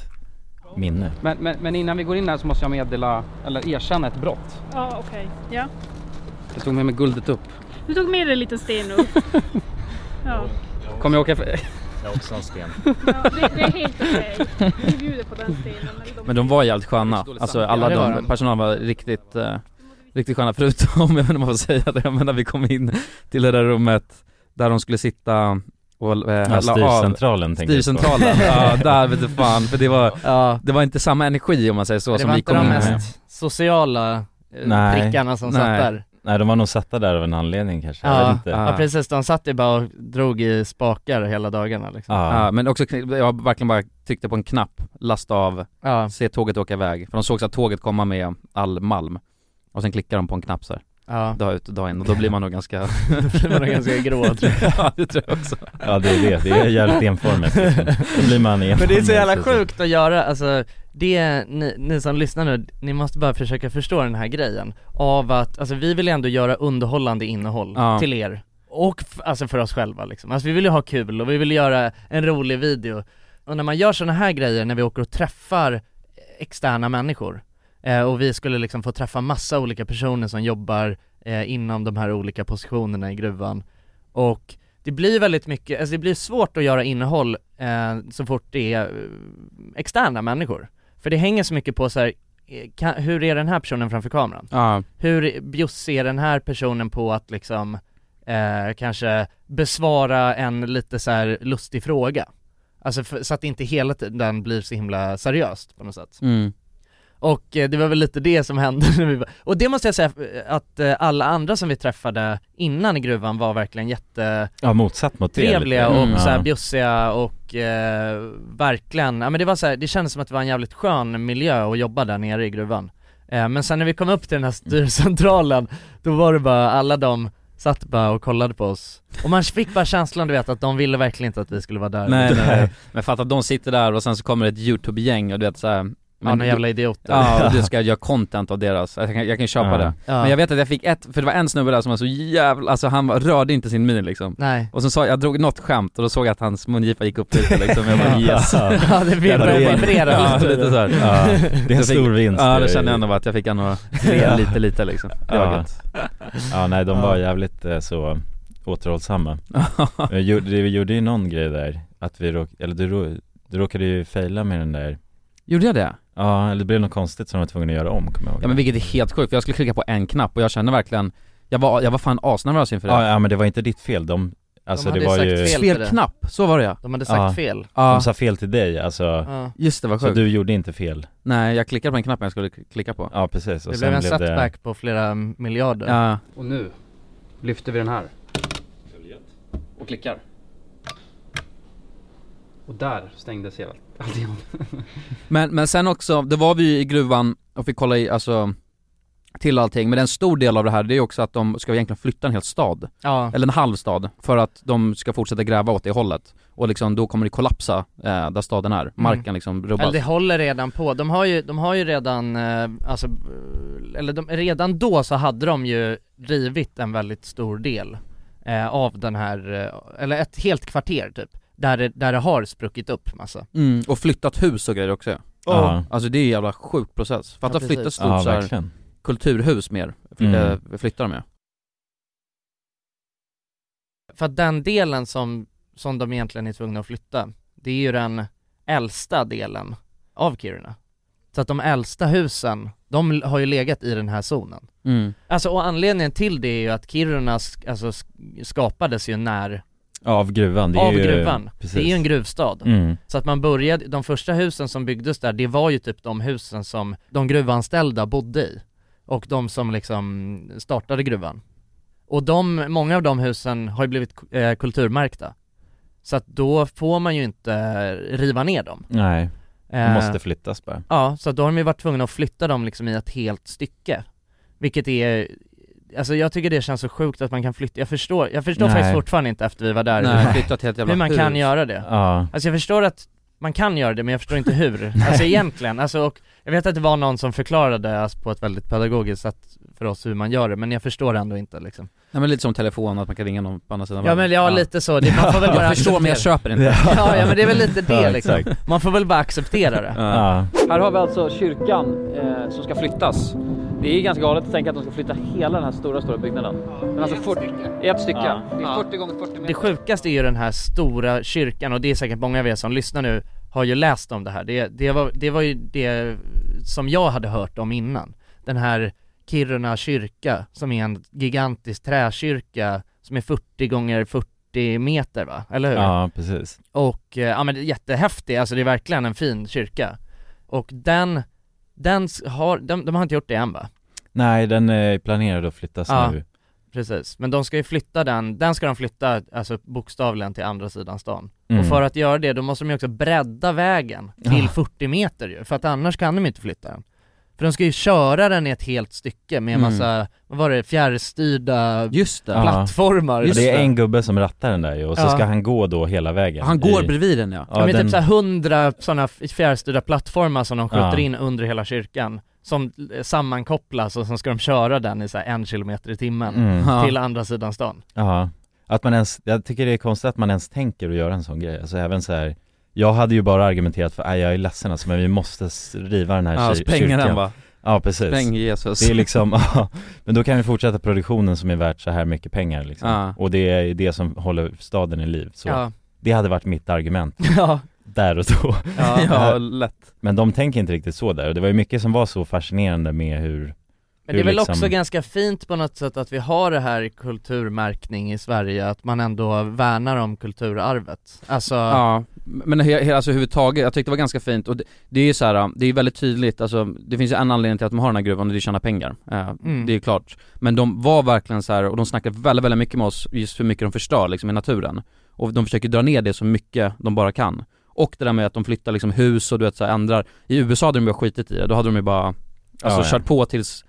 minne
Men, men, men innan vi går in här så måste jag meddela, eller erkänna ett brott.
Ja, okej. Ja.
Jag tog med mig guldet upp.
Du tog med dig en liten sten upp. Ja,
Kommer jag åka för...
Jag har också en sten
ja det, det är helt okej. Vi bjuder på den stenen.
Men de var jävligt sköna, alltså alla
Ja, det var
de,
de.
personalen var riktigt, eh, riktigt sköna förutom, jag vet inte om man får säga det, men när vi kom in till det där rummet där de skulle sitta och eh,
Ja,
hälla av
styrcentralen tänker jag på.
Styrcentralen, ja där vet du fan, för det var,
Ja,
det var inte samma energi om man säger så
det
som
var
vi
inte
kom
de
in
med.
mest sociala eh,
Nej.
prickarna som satt
Nej.
där.
Nej de var nog satta där av en anledning kanske, jag
Ja.
vet inte
Ja.
Ja precis, de satt ju bara och drog i spakar hela dagarna liksom.
Ja,
Ja.
men också, jag verkligen bara tryckte på en knapp, lasta av,
Ja,
se tåget åka iväg, för de såg så att tåget komma med all malm och sen klickar de på en knapp så här,
ja.
dag ut och dag in och då blir man nog ganska,
Det var nog ganska grå tror jag.
ja det tror jag också
ja det är det, det är jävligt enformigt liksom. Då blir man enformig
Men det är så jävla
så- så-
sjukt att göra, alltså det, ni, ni som lyssnar nu, ni måste bara försöka förstå den här grejen av att, alltså vi vill ändå göra underhållande innehåll
Ja.
till er och f- alltså för oss själva liksom. Alltså vi vill ju ha kul och vi vill göra en rolig video och när man gör sådana här grejer när vi åker och träffar externa människor eh, och vi skulle liksom få träffa massa olika personer som jobbar eh, inom de här olika positionerna i gruvan och det blir väldigt mycket, alltså det blir svårt att göra innehåll eh, så fort det är eh, externa människor. För det hänger så mycket på så här, eh, kan, hur är den här personen framför kameran?
Ja,
Hur bjussig är den här personen på att liksom eh, kanske besvara en lite så här lustig fråga? Alltså för, så att det inte hela tiden blir så himla seriöst på något sätt.
mm.
Och eh, det var väl lite det som hände när vi var, och det måste jag säga eh, att eh, alla andra som vi träffade innan i gruvan var verkligen jätte
Ja motsatt mot det
trevliga
lite.
och
Mm,
så här
ja.
bjussiga och eh, verkligen, ja men det var så här, det kändes som att det var en jävligt skön miljö att jobba där nere i gruvan eh, Men sen när vi kom upp till den här styrcentralen, då var det bara alla de satt bara och kollade på oss Och man fick bara känslan du vet att de ville verkligen inte att vi skulle vara där
Nej, nej, nej. Men fatta att de sitter där och sen så kommer ett youtube-gäng och du vet såhär
Ja, några jävla idioter
Ja, och du ska göra content av deras, jag kan, jag kan köpa
Ja.
det Men jag vet att jag fick ett, för det var en snubbe där som var så jävla, alltså han var, rörde inte sin min liksom
Nej
Och så sa, jag drog något skämt och då såg jag att hans mungipa gick upp lite liksom, jag bara
Ja.
yes
Ja det vibrerade,
Ja, det-
vibrerade
Ja,
lite
lite såhär
Ja, det är en
Jag fick-
stor vinst
Ja,
det
då
är
kände jag
ju.
ändå bara att jag fick ändå le lite, lite liksom Det var
Ja.
gött
Ja nej de var
Ja.
jävligt eh, så återhållsamma Eh, Vi gjorde, vi gjorde ju någon grej där, att vi råk, eller du, rå- du råkade ju fejla med den där
Gjorde jag det?
Ja, eller det blev något konstigt som de var tvungna att göra om, kommer jag ihåg.
Ja men vilket är helt sjukt, för jag skulle klicka på en knapp och jag kände verkligen Jag var, jag var fan asnervös inför det
Ja, ja men det var inte ditt fel, de, alltså
hade
det var
sagt
ju...
fel till dig. Spelknapp, så var det ja.
De hade sagt
ja.
fel.
Ja.
De sa fel till dig, alltså.
Ja.
Just det, vad
Så
sjukt.
du gjorde inte fel.
Nej, jag klickade på den knappen jag skulle klicka på
Ja, precis. Och
Det
sen
blev en
blev det-
setback på flera miljarder.
Ja,
Och nu lyfter vi den här. Och klickar. Och där stängdes hela alltihopa.
men, men sen också, det var vi ju i gruvan och fick kolla i, alltså till allting, men en stor del av det här det är också att de ska egentligen flytta en hel stad
Ja.
Eller en halv stad, för att de ska fortsätta gräva åt det hållet Och liksom då kommer det kollapsa eh, där staden är, marken liksom rubbas
Eller det håller redan på, de har ju, de har ju redan, eh, alltså, eh, eller de, redan då så hade de ju rivit en väldigt stor del eh, av den här, eh, eller ett helt kvarter typ, där det, där det har spruckit upp massa.
Mm, och flyttat hus och grejer också
Ja.
Alltså det är en jävla sjuk process, för att
Ja,
ja, flytta ett
precis.
stort
Ja,
så här
verkligen.
kulturhus mer, fly,
Mm.
eh, flyttar de ju
För att den delen som, som de egentligen är tvungna att flytta, det är ju den äldsta delen av Kiruna. Så att de äldsta husen, de har ju legat i den här zonen.
mm.
Alltså och anledningen till det är ju att Kiruna sk- alltså, sk- skapades ju när,
Av gruvan, det är
av
ju...
gruvan.
Precis.
Det är ju en gruvstad.
Mm.
Så att man började, de första husen som byggdes där, det var ju typ de husen som de gruvanställda bodde i. Och de som liksom startade gruvan. Och de, många av de husen har ju blivit eh, kulturmärkta. Så att då får man ju inte riva ner dem.
Nej,
Eh,
det måste flyttas bara.
Ja, så då har de ju varit tvungna att flytta dem liksom i ett helt stycke. Vilket är, alltså jag tycker det känns så sjukt att man kan flytta, jag förstår, jag förstår
Nej.
faktiskt fortfarande inte efter vi var där
Nej, flyttat helt jävla
hur man
hus.
kan göra det.
Ja.
Alltså jag förstår att man kan göra det men jag förstår inte hur, alltså egentligen, alltså och jag vet att det var någon som förklarade alltså, på ett väldigt pedagogiskt sätt för oss hur man gör det men jag förstår ändå inte liksom
Nej men lite som telefon, att man kan ringa någon på andra sidan
Ja men ja, lite så, det, man får väl bara
Jag förstår men jag
acceptera-
köper inte
Ja, ja men det är väl lite
Ja,
det liksom,
exakt.
man får väl bara acceptera det
Ja.
Här har vi alltså kyrkan eh, som ska flyttas. Det är ganska galet att tänka att de ska flytta hela den här stora, stora byggnaden. Men alltså ett, stycke. ett stycke.
Ja.
Det är 40 gånger 40 meter.
Det sjukaste är ju den här stora kyrkan och det är säkert många av er som lyssnar nu har ju läst om det här. Det, det, var, det var ju det som jag hade hört om innan. Den här Kiruna kyrka som är en gigantisk träkyrka som är 40 gånger 40 meter va, eller hur?
ja, precis.
Och eh, ja men det är jättehäftig, alltså det är verkligen en fin kyrka. Och den, den s- har, de, de har inte gjort det än va?
Nej, den eh, är planerad att flyttas
Ja.
nu.
Precis, men de ska ju flytta den, den ska de flytta alltså bokstavligen till andra sidan stan.
Mm.
Och för att göra det då måste de ju också bredda vägen till 40 meter ju, för att annars kan de ju inte flytta den. För de ska ju köra den i ett helt stycke med en
Mm.
massa, vad var det, fjärrstyrda
Just det,
Ja.
plattformar.
Ja, det är en gubbe som rattar den där ju, och så
Ja.
ska han gå då hela vägen.
han går
i-
bredvid den ja
Ja,
Ja, men
den...
typ såhär hundra sådana fjärrstyrda plattformar som de skjuter
Ja.
in under hela kyrkan, som eh, sammankopplas och sen ska de köra den i såhär en kilometer i timmen
mm.
Ja.
till andra sidan stan.
Ja, att man ens, jag tycker det är konstigt att man ens tänker att göra en sån grej, alltså även så här. Jag hade ju bara argumenterat för, "Aj, jag är ledsen alltså, men vi måste s- riva den här
Ja,
kyr-
spränga
kyrkan
den va,
Ja precis,
spräng Jesus
det är liksom, ja, men då kan vi fortsätta produktionen som är värt så här mycket pengar liksom.
Ja.
Och det är det som håller staden i liv, så
Ja.
det hade varit mitt argument
ja,
där och då
ja, ja, lätt
Men de tänker inte riktigt så där, och det var ju mycket som var så fascinerande med hur
Men det är
hur
väl
liksom-
också ganska fint på något sätt att vi har det här kulturmärkning i Sverige, att man ändå värnar om kulturarvet. Alltså,
Ja, men he, he, alltså överhuvudtaget, jag tyckte det var ganska fint och det, det är ju så här, äh, det är ju väldigt tydligt, alltså det finns ju en anledning till att de har den här gruvan och det är att tjäna pengar, eh,
Mm.
det är ju klart Men de var verkligen så här och de snackade väldigt, väldigt mycket med oss just hur mycket de förstör liksom i naturen Och de försöker dra ner det så mycket de bara kan Och det där med att de flyttar liksom hus och du vet så här, ändrar I USA hade de bara skitit i det, då hade de ju bara, alltså
Ja, ja.
kört på tills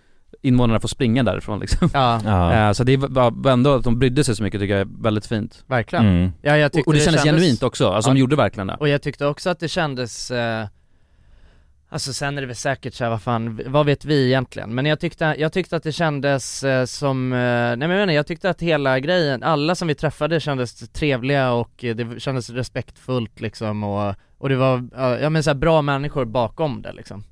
invånarna får springa därifrån liksom
ja,
Ja,
Eh, Så det var ändå att de brydde sig så mycket tycker jag är väldigt fint
verkligen.
mm.
Ja, jag
och,
tyckte
och det, kändes genuint också, alltså
Ja.
de gjorde verkligen det
Och jag tyckte också att det kändes, eh, alltså sen är det väl säkert såhär, vad fan, vad vet vi egentligen? Men jag tyckte, jag tyckte att det kändes eh, som, eh, nej men jag menar, jag tyckte att hela grejen, alla som vi träffade kändes trevliga och eh, det kändes respektfullt liksom och, och det var, eh, ja men såhär bra människor bakom det liksom.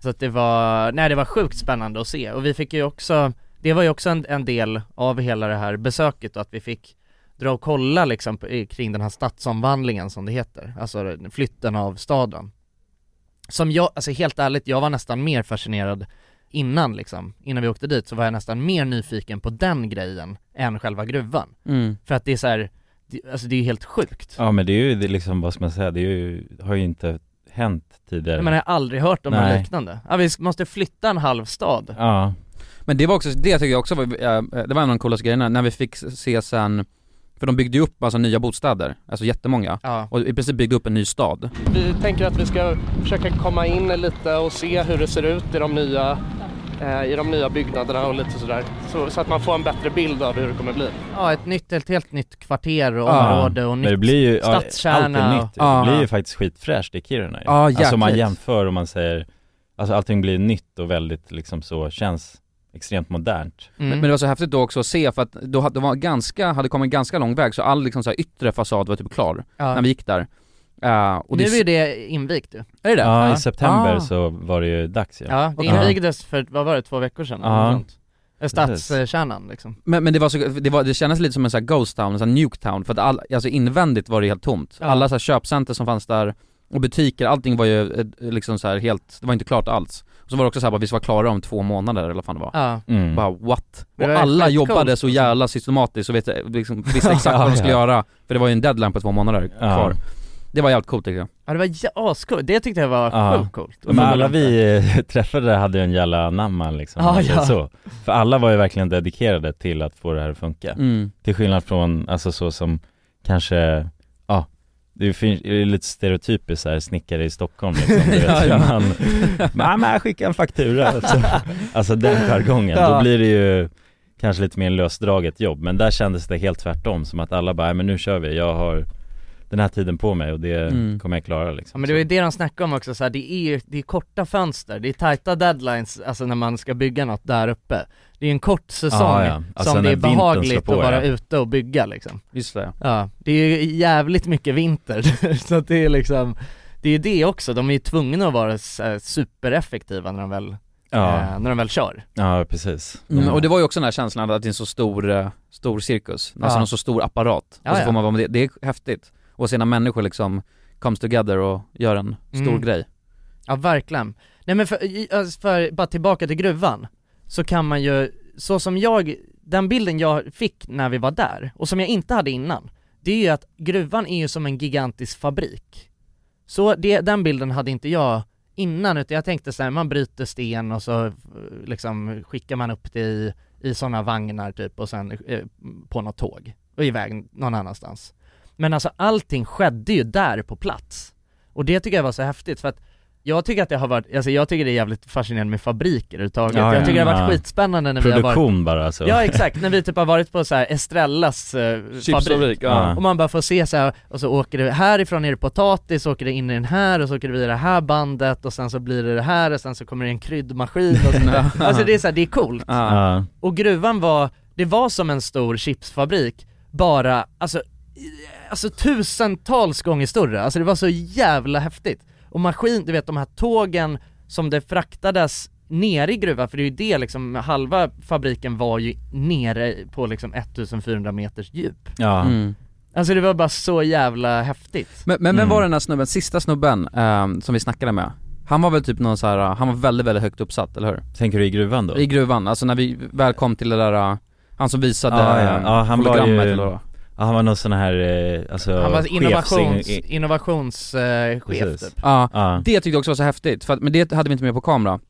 Så att det var, nej det var sjukt spännande att se och vi fick ju också, det var ju också en, en del av hela det här besöket och att vi fick dra och kolla liksom på- i- kring den här stadsomvandlingen som det heter, alltså den- flytten av staden. som jag, alltså helt ärligt, jag var nästan mer fascinerad innan liksom, innan vi åkte dit så var jag nästan mer nyfiken på den grejen än själva gruvan.
Mm.
För att det är så här, det, alltså det är helt sjukt.
Ja men det är ju det är liksom, vad ska man säga, det är ju, har ju inte hänt tidigare
Men jag har aldrig hört om något
Nej.
liknande. Ja, vi s- måste flytta en halv stad.
Ja
Men det var också, det tycker jag också var, eh, det var en av de coolaste grejerna, när vi fick se sen, för de byggde ju upp alltså nya bostäder, alltså jättemånga,
Ja.
och i princip byggde upp en ny stad.
Vi tänker att vi ska försöka komma in lite och se hur det ser ut i de nya, eh, i de nya byggnaderna och lite sådär. Så, så att man får en bättre bild av hur det kommer bli.
Ja, ett nytt, ett helt nytt kvarter och
Ja.
område och
Men
nytt
det blir ju, ja,
stadskärna.
Allt är
och-
nytt, det blir ju faktiskt skitfräscht i Kiruna ju.
Ja,
Alltså om man
jäkligt.
jämför och man säger, alltså allting blir nytt och väldigt liksom så, känns extremt modernt
Mm.
Men, men det var så häftigt då också att se för att då hade, det var ganska, hade kommit ganska lång väg så all liksom så här yttre fasad var typ klar
Ja.
när vi gick där. Eh, och
nu
det,
är ju det invigt ju.
Är det det?
Ja, i september
Ah.
så var det ju dags ju
Ja, det invigdes för, vad var det, två veckor sedan?
Ja.
eller något sånt. Eh,
Precis.
Stadskärnan liksom.
Men, men det var så, det, var, det kändes lite som en sån här ghost town, en sån här nuke town, för att all, alltså invändigt var det helt tomt. Alla så här köpcenter som fanns där och butiker, allting var ju eh, liksom så här helt, det var inte klart alls. Och så var det också så här, bara, vi ska vara klara om två månader eller vad fan det var.
Ja.
Mm.
Bara what?
Det
Och
var
alla
skitcoolt.
jobbade så jävla systematiskt och vet, liksom, visste exakt
Ja,
vad
ja.
de skulle göra, för det var ju en deadline på två månader
Ja.
kvar. Det var jävligt coolt tycker jag.
Ja det var jä- ascoolt, det tyckte jag var sjukt coolt.
Men alla vi eh, träffade hade ju en jävla anamma liksom,
Ja,
om man säger
ja.
så. För alla var ju verkligen dedikerade till att få det här att funka.
Mm.
Till skillnad från, alltså så som kanske, ja, det finns det är lite stereotypiskt så här, snickare i Stockholm liksom, du vet,
Ja, ja.
hur man, man, man skickar en faktura, alltså, alltså den jargongen,
Ja.
då blir det ju kanske lite mer lösdraget jobb, men där kändes det helt tvärtom, som att alla bara, "Nej, men nu kör vi, jag har den här tiden på mig och det
Mm.
kommer jag klara liksom.
Ja men det var ju det de snackade om också så här, det är ju, det är korta fönster, det är tajta deadlines, alltså när man ska bygga något där uppe. Det är en kort säsong
Ja, ja. Alltså,
som det
när
är
vintern
behagligt
slår på,
att vara
ja.
ute och bygga liksom.
Just det.
Ja, det är ju jävligt mycket vinter, så att det är liksom, det är ju det också, de är ju tvungna att vara så här supereffektiva när de väl,
Ja.
eh, när de väl kör.
Ja, precis.
Mm. Och det var ju också den här känslan att det är en så stor, eh, stor cirkus,
Ja.
alltså en så stor apparat.
Ja,
och så
ja.
får man vara med det, det är häftigt. Och sen när människor liksom comes together och gör en stor
Mm.
grej.
Ja verkligen. Nej men för, i- alltså för, bara tillbaka till gruvan, så kan man ju, så som jag, den bilden jag fick när vi var där, och som jag inte hade innan, det är ju att gruvan är ju som en gigantisk fabrik. Så det, den bilden hade inte jag innan, utan jag tänkte så här, man bryter sten och så eh, liksom skickar man upp det i, i sådana vagnar typ och sen eh, på något tåg och iväg någon annanstans. Men alltså allting skedde ju där på plats. Och det tycker jag var så häftigt för att jag tycker att det har varit, alltså jag tycker det är jävligt fascinerande med fabriker överhuvudtaget.
Ja,
jag
ja,
tycker det har
ja.
varit skitspännande när vi har varit
Produktion bara alltså.
Ja exakt, när vi typ har varit på så här Estrellas eh,
Chipsfabrik,
fabrik
ja.
och man bara får se så här, och så åker det härifrån är det potatis, så åker det in i den här och så åker det via det här bandet och sen så blir det det här och sen så kommer det en kryddmaskin och så där. Alltså det är så här, det är coolt.
Ja.
Och gruvan var, det var som en stor chipsfabrik, bara alltså, i- alltså tusentals gånger större, alltså det var så jävla häftigt. Och maskin, du vet de här tågen som det fraktades nere i gruvan, för det är ju det liksom, halva fabriken var ju nere på liksom 1400 meters djup.
Ja.
Mm.
Alltså det var bara så jävla häftigt.
Men, men vem var den här snubben, sista snubben ehm, som vi snackade med? Han var väl typ någon så här, eh, han var väldigt, väldigt högt uppsatt, eller hur?
Tänker du i gruvan då?
I gruvan, alltså när vi väl kom till det där, eh, han som visade
ja, ja. ja, han var ju,
hologrammet eller vad det
ja, han var någon sån här, eh, alltså
Han var
chefs-
innovations,
i-
innovationschef
Precis.
typ.
Ja,
Ja.
det tyckte jag också var så häftigt, för att, men det hade vi inte med på kamera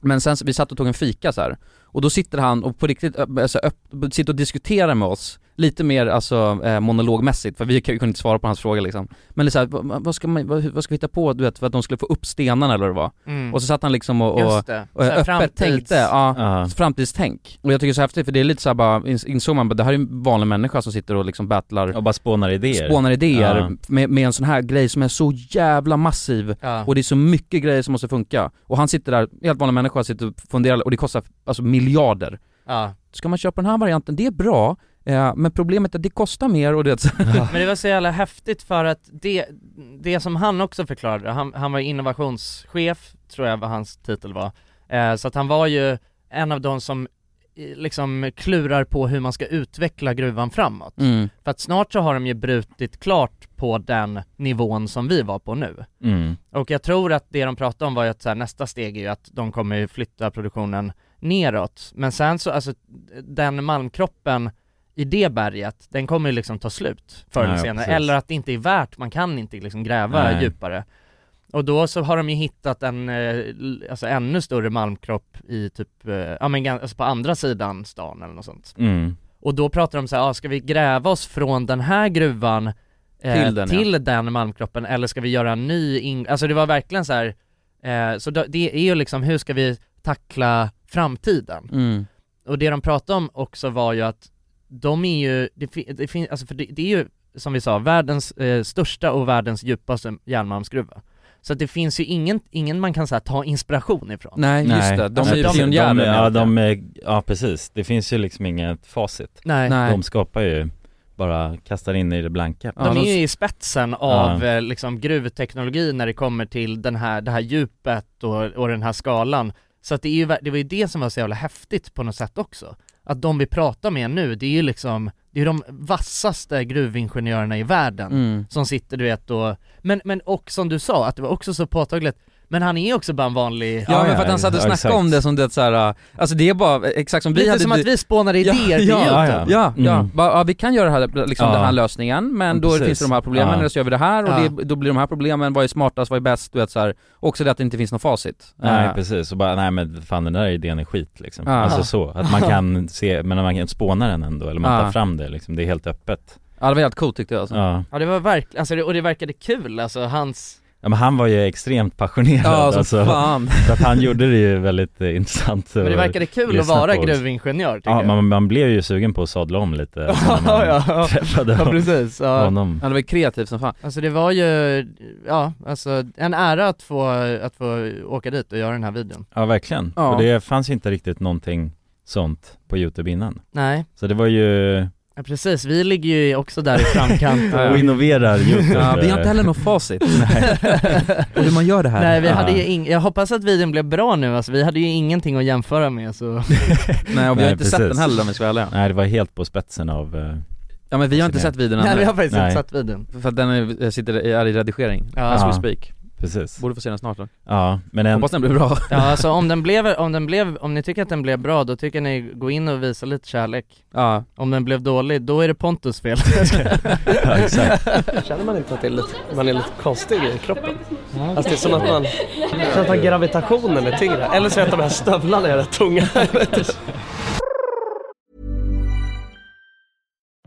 Men sen så- vi satt och tog en fika så här. och då sitter han och på riktigt, ö- alltså, öpp- sitter och diskuterar med oss Lite mer alltså eh, monologmässigt, för vi kunde inte svara på hans fråga liksom Men så här, vad, vad, ska man, vad, vad ska vi hitta på du vet, för att de skulle få upp stenarna eller vad det var?
Mm.
Och så satt han liksom och, och,
Just det.
och
Så här
öppet
framtids-
tänkte, ja,
Ja.
framtidstänk Och jag tycker det är så häftigt för det är lite så här bara, ins- insåg man bara, det här är ju en vanlig människa som sitter och liksom battlar
Och bara spånar idéer.
spånar idéer
Ja.
med, med en sån här grej som är så jävla massiv
Ja.
och det är så mycket grejer som måste funka. Och han sitter där, helt vanlig människa, sitter och funderar och det kostar alltså miljarder.
Ja.
Ska man köpa den här varianten? Det är bra, eh, men problemet är att det kostar mer och det
Men det var så jävla häftigt för att det, det som han också förklarade, han, han var innovationschef, tror jag vad hans titel var, eh, så att han var ju en av de som eh, liksom klurar på hur man ska utveckla gruvan framåt.
Mm.
För att snart så har de ju brutit klart på den nivån som vi var på nu.
Mm.
Och jag tror att det de pratade om var ju att så här, nästa steg är ju att de kommer ju flytta produktionen neråt. Men sen så, alltså den malmkroppen i det berget, den kommer ju liksom ta slut förr eller
Ja, ja,
senare.
precis.
Eller att det inte är värt, man kan inte liksom gräva
Nej.
djupare. Och då så har de ju hittat en, eh, l- alltså ännu större malmkropp i typ, eh, ja men gan- alltså på andra sidan stan eller något sånt.
Mm.
Och då pratar de så här, ah, ska vi gräva oss från den här gruvan eh,
Till den, ja.
till den malmkroppen eller ska vi göra en ny in... Alltså det var verkligen så här, eh, så då, det är ju liksom hur ska vi tackla framtiden?
Mm.
Och det de pratade om också var ju att de är ju, det, fi, det, fin, alltså för det, det är ju som vi sa, världens eh, största och världens djupaste järnmalmsgruva. Så att det finns ju ingen, ingen man kan så här, ta inspiration ifrån. Alltså,
de, ja,
menar jag.
de är, ja precis, det finns ju liksom inget facit
Nej. Nej.
De skapar ju, bara kastar in i det blanka
De är ju i spetsen av
Ja.
eh, liksom gruvteknologi när det kommer till den här, det här djupet och, och den här skalan. Så att det, är ju, ver- det var ju det som var så jävla häftigt på något sätt också. Att de vi pratar med nu, det är ju liksom, det är ju de vassaste gruvingenjörerna i världen
Mm.
som sitter du vet och, men, men och som du sa, att det var också så påtagligt, men han är också bara en vanlig
Ja, men för att han satt och snackade om det som det såhär, alltså det är bara exakt som vi
Lite
hade
som att vi spånade
Ja,
idéer till
ja, ja, ja,
Jotun.
ja,
Mm.
Bara, ja, vi kan göra det här, liksom
Ja.
den här lösningen men då
Precis.
finns det de här problemen,
Ja.
eller så gör vi det här och
Ja.
det, då blir de här problemen, vad är smartast, vad är bäst, du vet såhär, också det att det inte finns något facit
Nej
Eh,
precis, och bara nej men fan den där idén är skit liksom
Ja.
Alltså så, att man kan se, men man kan spåna den ändå eller man
Ja.
tar fram det liksom, det är helt öppet
Ja det var helt coolt tyckte jag alltså.
Ja,
Ja det var verkligen, alltså, det- och det verkade kul alltså, hans
ja men han var ju extremt passionerad
Ja, som
alltså,
fan.
Så att han gjorde det ju väldigt eh, intressant
Men det
att
verkade kul att
lyssna
vara
på.
gruvingenjör, tycker
Ja,
jag.
man, man blev ju sugen på att sadla om lite när man träffade
ja, precis, ja.
honom
Ja det var ju kreativt som fan
Alltså det var ju, ja alltså en ära att få, att få åka dit och göra den här videon
Ja verkligen,
Ja.
och det fanns ju inte riktigt någonting sånt på youtube innan
Nej.
Så det var ju,
ja, precis, vi ligger ju också där i framkant
och innoverar youtube
Ja, vi har inte heller något facit på hur man gör det här
Nej vi hade
Ja.
ju ing- jag hoppas att videon blev bra nu alltså, vi hade ju ingenting att jämföra med så
Nej och vi har
Nej,
inte sett
precis.
den heller om vi ska vara ärliga
Nej det var helt på spetsen av eh,
Ja men vi har inte
sina-
sett videon
Nej
ännu.
vi har faktiskt inte sett videon
För att den är, sitter, är i redigering,
Ja.
as we
Ja.
speak
Precis
Borde få se den snart då
Ja, men en-
Hoppas den blir bra
Ja alltså om den blev, om den blev, om ni tycker att den blev bra då tycker ni gå in och visa lite kärlek
Ja
Om den blev dålig, då är det Pontus fel
Känner man inte att det är lite, man är lite konstig i kroppen? Alltså det är som att man känner att man gravitationen är tyngre. Eller så är det att de här stövlarna är rätt tunga. Jag vet inte.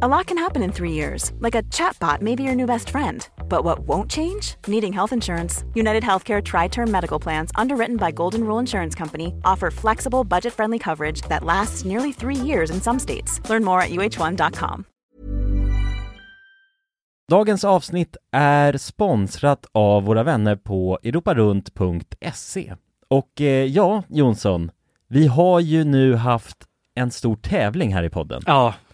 A lot can happen in three years, like a chatbot may be your new best friend. But what won't change? Needing health insurance. United Healthcare Tri Term Medical Plans, underwritten by Golden Rule Insurance Company, offer flexible, budget friendly coverage that lasts nearly three years in some states. Learn more at uh1.com.
Dagens avsnitt är sponsrat av våra vänner på europarunt.se. Och eh, ja, Jonsson, vi har ju nu haft en stor tävling här i podden.
Ja,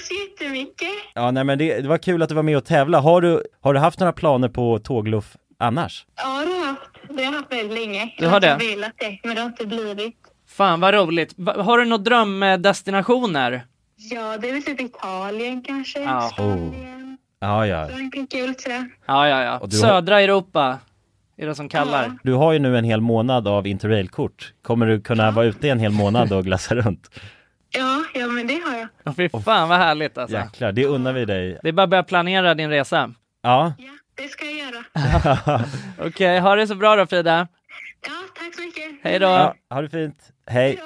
så jättemycket.
Ja, nej men det, det var kul att du var med och tävla. Har du, har du haft några planer på tågluff annars?
Ja, det har jag haft. Det har jag haft väldigt länge.
Du har det?
Jag har velat det, men det har inte blivit.
Fan vad roligt. Va- har du några drömdestinationer?
Ja, det är väl typ Italien kanske.
Ja.
Oh. Ja, ja.
Frankrike, vill säga.
Ja, ja, ja.
Och du har-
Södra Europa är det som kallar.
Du har ju nu en hel månad av interrailkort. Kommer du kunna vara ute en hel månad och glassa runt?
Ja, ja, men det har jag.
Ja. Fy fan vad härligt alltså.
Jäklar, det unnar vi dig.
Det är bara att börja planera din resa.
Ja.
Det ska jag göra.
Okej, ha det så bra då Frida.
Ja, tack så mycket.
Hej då.
ja ha det fint. Hej.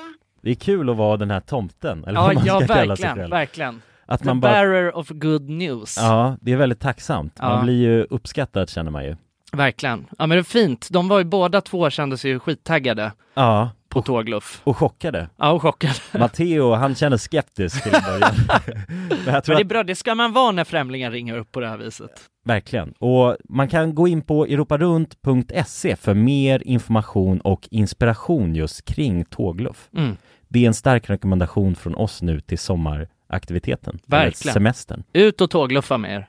Det är kul att vara den här tomten, eller
Ja,
vad man
ja
ska kalla sig
verkligen,
själv.
verkligen.
Att
The
man bara-
bearer of good news.
Ja, det är väldigt tacksamt.
Ja.
Man blir ju uppskattad känner man ju.
Verkligen. Ja men det är fint. De var ju båda två kändes ju skittaggade
Ja.
på tågluff.
Och chockade.
Ja, och chockade.
Matteo, han känner skeptisk till en början. Men jag tror
Men det är
att,
bra, det ska man vara när främlingar ringer upp på det här viset.
verkligen. Och man kan gå in på europarunt.se för mer information och inspiration just kring tågluff.
Mm.
Det är en stark rekommendation från oss nu till sommaraktiviteten. eller
Verkligen.
Semestern.
Ut och tågluffa med er.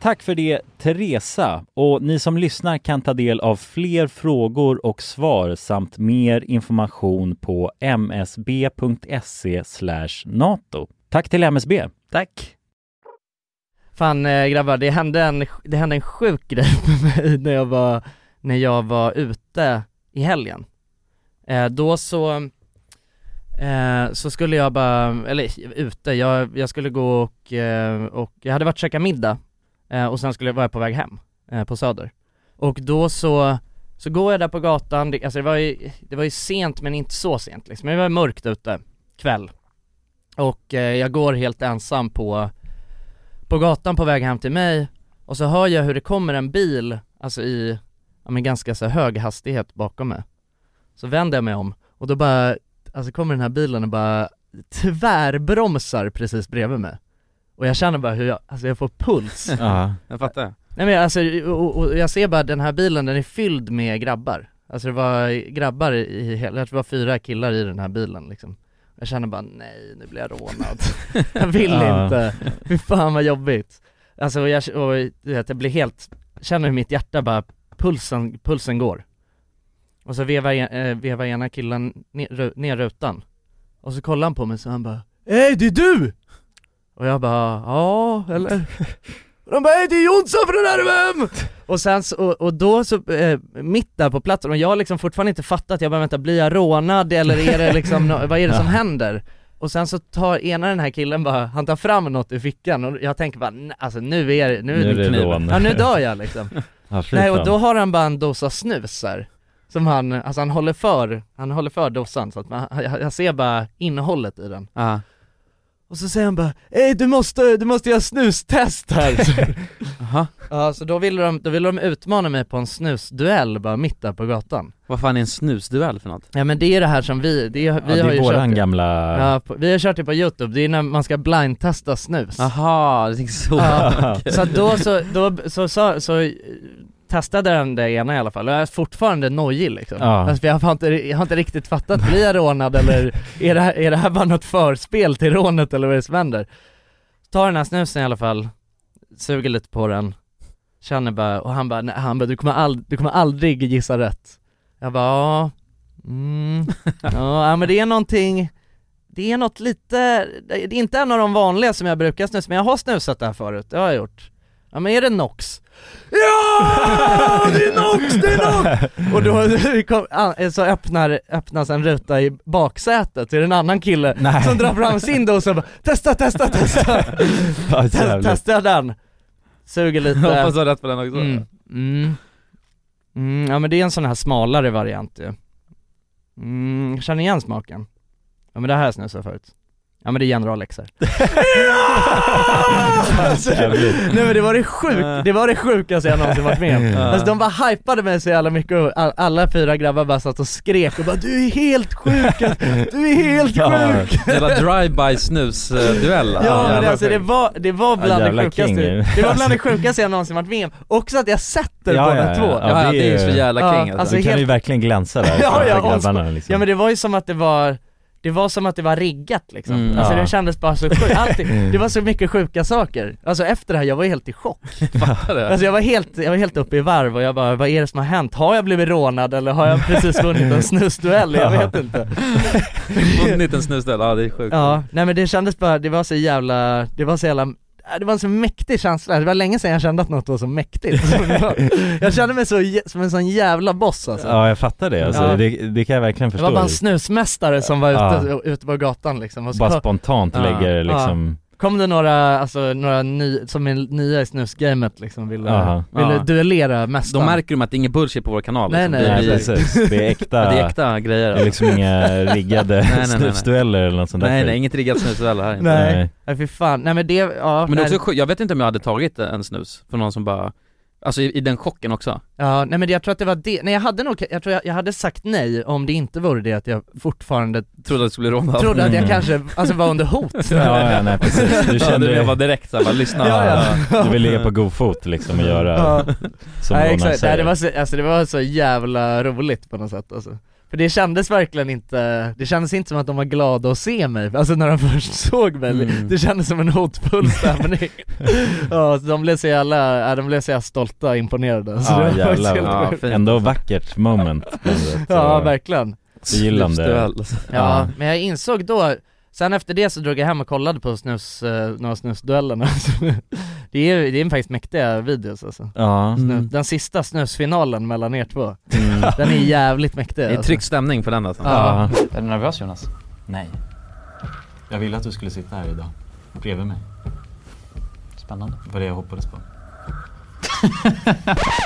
Tack för det Teresa och ni som lyssnar kan ta del av fler frågor och svar samt mer information på msb.se E nato. Tack till MSB. Tack.
Fan eh, grabbar, det hände en, det hände en sjuk grej med mig när jag var, när jag var ute i helgen. Eh, då så, eh, så skulle jag bara, eller ute, jag, jag skulle gå och, eh, och jag hade varit och käkat middag eh, och sen skulle jag vara på väg hem eh, på Söder. Och då så, så går jag där på gatan, det, alltså det var ju, det var ju sent men inte så sent liksom, men det var mörkt ute, kväll. Och eh, jag går helt ensam på på gatan på väg hem till mig och så hör jag hur det kommer en bil, alltså i, ja men ganska så här hög hastighet bakom mig. Så vänder jag mig om och då bara, alltså kommer den här bilen och bara tvärbromsar precis bredvid mig. Och jag känner bara hur jag, alltså jag får puls.
Ja. Jag fattar.
Nej men alltså, och, och jag ser bara den här bilen, den är fylld med grabbar. Alltså det var grabbar i hela, jag tror det var fyra killar i den här bilen liksom. Jag känner bara nej, nu blir jag rånad. jag vill
Ja.
inte. Fy fan vad jobbigt. Alltså och jag, och, du vet, jag blir helt, känner hur mitt hjärta bara, pulsen, pulsen går. Och så vevar, en- eh, vevar ena killen ner, ru- ner rutan. Och så kollar han på mig så han bara Hej det är du! Och jag bara ja, eller? Och de bara hej det är Jonsson från RVM! Och sen så, och, och då så, eh, mitt där på platsen, och jag har liksom fortfarande inte fattat, jag bara vänta blir jag rånad eller är det liksom, nå- vad är det som
Ja.
händer? Och sen så tar ena den här killen bara, han tar fram något ur fickan och jag tänker bara "Nej, alltså nu är det, nu är
Nu
det,
är det
kniv.
rån.
Ja nu dör jag liksom.
Ja, fy
Nej och
fan.
då har han bara en dosa snus här, som han, alltså han håller för, han håller för dosan så att man, jag, jag ser bara innehållet i den.
Ja.
Och så säger han bara Ey du måste, du måste göra snustest här!
Jaha.
ja så då ville de, då ville de utmana mig på en snusduell bara mitt där på gatan
Vad fan är en snusduell för något?
Ja men det är det här som vi, det är, vi
Ja, det är
har ju
våran
kört det.
gamla-
ja, på, Vi har kört det på youtube, det är när man ska blindtesta snus
Jaha, det är så.
Ja, så att då så, då så, så, så eh, testade den det ena i alla fall, och jag är fortfarande nojig liksom.
Ja.
Alltså, för jag, har inte, jag har inte riktigt fattat, blir jag rånad eller är det, här, är det här bara något förspel till rånet eller vad är det som händer? Tar den här snusen i alla fall, suger lite på den, känner bara, och han bara, nej, han bara du, kommer all, du kommer aldrig gissa rätt. Jag bara, ja, mm, ja men det är någonting det är något lite, det är inte en av de vanliga som jag brukar snusa, men jag har snusat det här förut, det har jag gjort. Ja men är det Nox? Ja! Det är Nox, det är Nox! Och då kom, an- så öppnar, öppnas en ruta i baksätet, så är det en annan kille som drar fram sin dos och bara testa, testa, testa!
Vad
Te-
jävligt.
Testar jag den, suger lite
Jag hoppas du har rätt på den också.
Mm. Mm. Mm, ja men det är en sån här smalare variant ju mm, jag känner igen smaken Ja men det här har jag snusat förut Ja men det är General Xer alltså, Nej men det var det sjukt, det var det sjukaste jag någonsin varit med om
Ja.
Alltså de bara hypade mig så jävla mycket och all, alla fyra grabbar bara satt och skrek och bara du är helt sjuk, alltså. du är helt sjuk
Jävla drive-by snusduell
Ja men det, alltså, det var, det var bland
Jävla
det sjukaste,
king.
det var bland det sjukaste jag någonsin varit med om. Också att jag sätter
Alltså. Ja,
båda
ja,
två.
ja. Ja, Ja, det det är ju- så jävla king, alltså. Du kan ju verkligen glänsa där
ja,
för
ja,
grabbarna,
och-
liksom.
ja men det var ju som att det var det var som att det var riggat liksom,
Mm.
alltså
Ja. Mm.
det kändes bara så sjukt, Allting- det var så mycket sjuka saker Alltså efter det här, jag var ju helt i chock Alltså jag var helt, jag var helt uppe i varv och jag bara, vad är det som har hänt? Har jag blivit rånad eller har jag precis vunnit en snusduell? Jag vet inte
Vunnit en snusduell, ja det är sjukt
Ja, nej men det kändes bara, det var så jävla, det var så jävla äh, det var en så mäktig känsla, det var länge sedan jag kände att något var så mäktigt som det var. Jag kände mig så, jä- som en sån jävla boss alltså
Ja, jag fattar det. Alltså,
Ja.
det, det kan jag verkligen
Det
förstå.
var bara en snusmästare som var ute,
Ja.
ute på gatan liksom och så-
Bara spontant lägger liksom-
Kom det några, alltså några ny, som är nya i snusgamet liksom, ville,
Aha.
ville
Ja.
duellera mästaren?
De märker ju att det är ingen bullshit på vår kanal
Nej, nej. Nej, precis.
Det är äkta-
ja, Det är äkta grejer
Det är liksom inga riggade
Nej, nej, nej, nej.
snusdueller eller något sånt där
Nej
skit.
nej, inget riggat snusdueller här inte.
Nej, nej. fy fan, nej men det, ja
Men det
nej.
är också sjukt, jag vet inte om jag hade tagit en snus från någon som bara Alltså i, i den chocken också.
Ja, nej men jag tror att det var det, nej jag hade nog, jag tror jag, jag hade sagt nej om det inte vore det att jag fortfarande
Trodde att det skulle råna
Trodde att jag kanske, alltså var under hot
Ja, ja, nej, precis. Du kände-
jag var direkt såhär, bara lyssna.
Ja, ja.
Du vill ligga på god fot liksom och göra
Ja.
som
Nej,
Ronan
exakt. Nej,
säger
det var så, alltså det var så jävla roligt på något sätt alltså. För det kändes verkligen inte, det kändes inte som att de var glada att se mig, alltså när de först såg mig,
Mm.
det kändes som en hotfull stämning Ja, så de blev så jävla, ja, de blev så jävla stolta och imponerade så det var
Ja
faktiskt
jävlar,
helt
ja,
sjukt.
fint. ändå vackert moment men det-
Ja
så-
verkligen
Gillande
Ja, men jag insåg då, sen efter det så drog jag hem och kollade på snus, eh, några snusduellerna Det är ju, det är faktiskt mäktiga videos alltså
Ja.
Snu-
Mm.
Den sista snusfinalen mellan er två, den är jävligt mäktig
Mm. Det är
alltså.
tryckt stämning på den alltså.
Ja.
Är du nervös Jonas?
Nej
Jag ville att du skulle sitta här idag, bredvid mig. Spännande. Det var det jag hoppades på.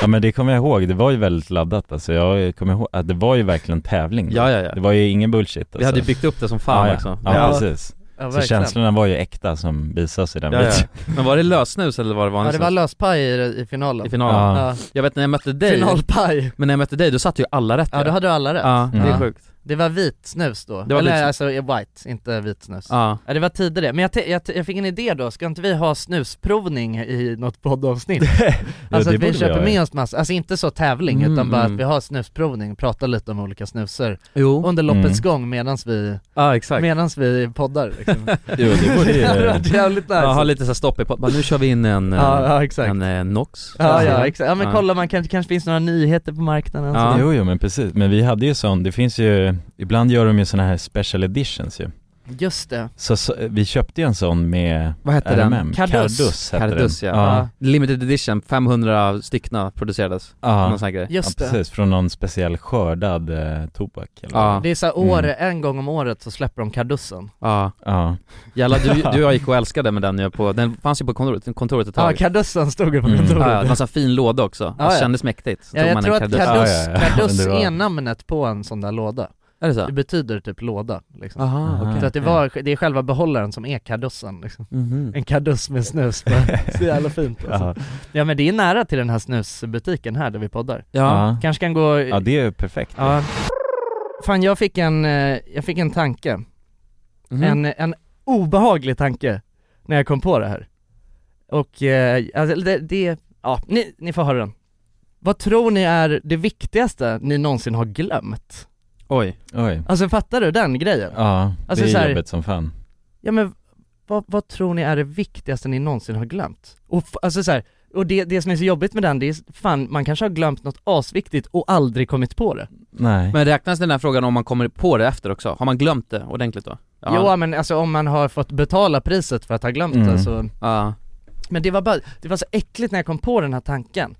Ja men det kommer jag ihåg, det var ju väldigt laddat alltså, jag kommer ihåg att det var ju verkligen tävling
Ja, ja, ja.
Det var ju ingen bullshit alltså.
Vi hade ju byggt upp det som fan
ja, ja.
också.
Ja,
Ja.
precis
Ja,
Så
verkligen.
känslorna var ju äkta som visas i den
Ja, ja.
videon
Men var det lösnus eller var det
Ja
vanligt
det var löspaj i, i finalen
I finalen?
Ja.
Jag vet när jag mötte dig
Finalpaj.
Men när jag mötte dig, då satte ju alla rätt
Ja då hade du alla rätt
Ja, Mm. det är sjukt
Det var vit snus då,
Det var
eller
vit snus.
alltså white, inte vit snus
Ja.
det var tidigare, men jag, te- jag, te- jag fick en idé då, ska inte vi ha snusprovning i något poddavsnitt? alltså
det
att vi
borde vi
köper
ha,
med
ja.
oss massa, alltså inte så tävling
Mm,
utan bara
mm.
att vi har snusprovning, pratar lite om olika snuser
Jo.
under loppets
Mm.
gång medans vi,
Ja exakt
medans vi poddar liksom.
Jo det borde ju
hade varit jävligt nice
Ja, ha lite såhär stopp i pot- bara, nu kör vi in en, eh,
Ja, ja, exakt.
en eh, Nox
Ja, ja, exakt. ja men kolla man kanske, kanske finns några nyheter på marknaden så det-
Jo, jo men precis, men vi hade ju sån, det finns ju, ibland gör de ju såna här special editions ju
Just det
Så, så vi köpte ju en sån med
Vad hette
RMM.
den?
Cardus, hette
Cardus
den.
ja. Eh, Limited edition, 500 styckna producerades
Ja,
Någon sån här grej
Just
ja,
det.
precis, från någon speciell skördad eh, tobak eller
Ja.
Det är såhär år,
Mm.
en gång om året så släpper de kardussen
Ja,
ja.
Jävlar, du, du och jag gick och älskade med den ju på, den fanns ju på kontoret, kontoret ett
Ja,
tag
kardussen stod ju på kontoret
Mm. Ja, ja, det var en sån fin låda också,
Ja,
det
ja.
kändes mäktigt Så
Ja,
tog
jag
man
tror
en
att
Cardus.
kardus,
Ja, ja, ja.
kardus
Men det var-
är namnet på en sån där låda
Är det så?
Det betyder typ låda liksom.
Aha, Ah, okej.
Så att det, var, det är själva behållaren som är kardussen liksom.
Mhm.
En kardus med snus på. Så jävla fint alltså.
Ja.
Ja men det är nära till den här snusbutiken här där vi poddar
Ja.
Kanske kan gå
Ja det är ju perfekt
Ja. Fan jag fick en, eh, jag fick en tanke
Mhm.
en, en obehaglig tanke när jag kom på det här Och, eh, alltså det, det ja, ni, ni får höra den Vad tror ni är det viktigaste ni någonsin har glömt?
Oj
Oj
Alltså fattar du den grejen?
Ja,
Alltså,
det är
så här-
jobbigt som fan
Ja men vad, vad tror ni är det viktigaste ni någonsin har glömt? Och f- alltså så här, och det, det som är så jobbigt med den, det är fan, man kanske har glömt något asviktigt och aldrig kommit på det
Nej
Men räknas den här frågan om man kommer på det efter också? Har man glömt det ordentligt då?
Jo men alltså om man har fått betala priset för att ha glömt det
Mm.
så
Ja.
Men det var bara, det var så äckligt när jag kom på den här tanken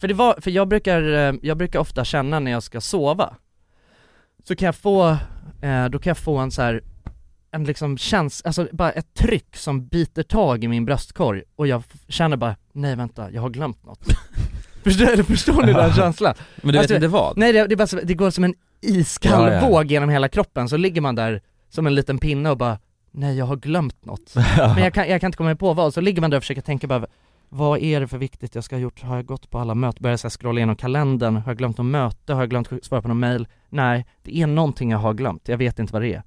För det var, för jag brukar, eh, jag brukar ofta känna när jag ska sova Så kan jag få, eh, då kan jag få en så här en liksom känsla, alltså bara ett tryck som biter tag i min bröstkorg och jag f- känner bara, nej vänta, jag har glömt något Förstår, eller förstår ni den känslan?
Men du vet
Alltså,
inte vad?
Nej det, det, är bara, så- det går som en iskall
Ja, ja.
våg genom hela kroppen, så ligger man där som en liten pinne och bara Nej jag har glömt något, men jag kan, jag kan inte komma på vad, så ligger man där och försöker tänka bara Vad är det för viktigt jag ska ha gjort? Har jag gått på alla möten? Börjar så här scrolla igenom kalendern? Har jag glömt något möte? Har jag glömt att svara på någon mail? Nej, det är någonting jag har glömt, jag vet inte vad det är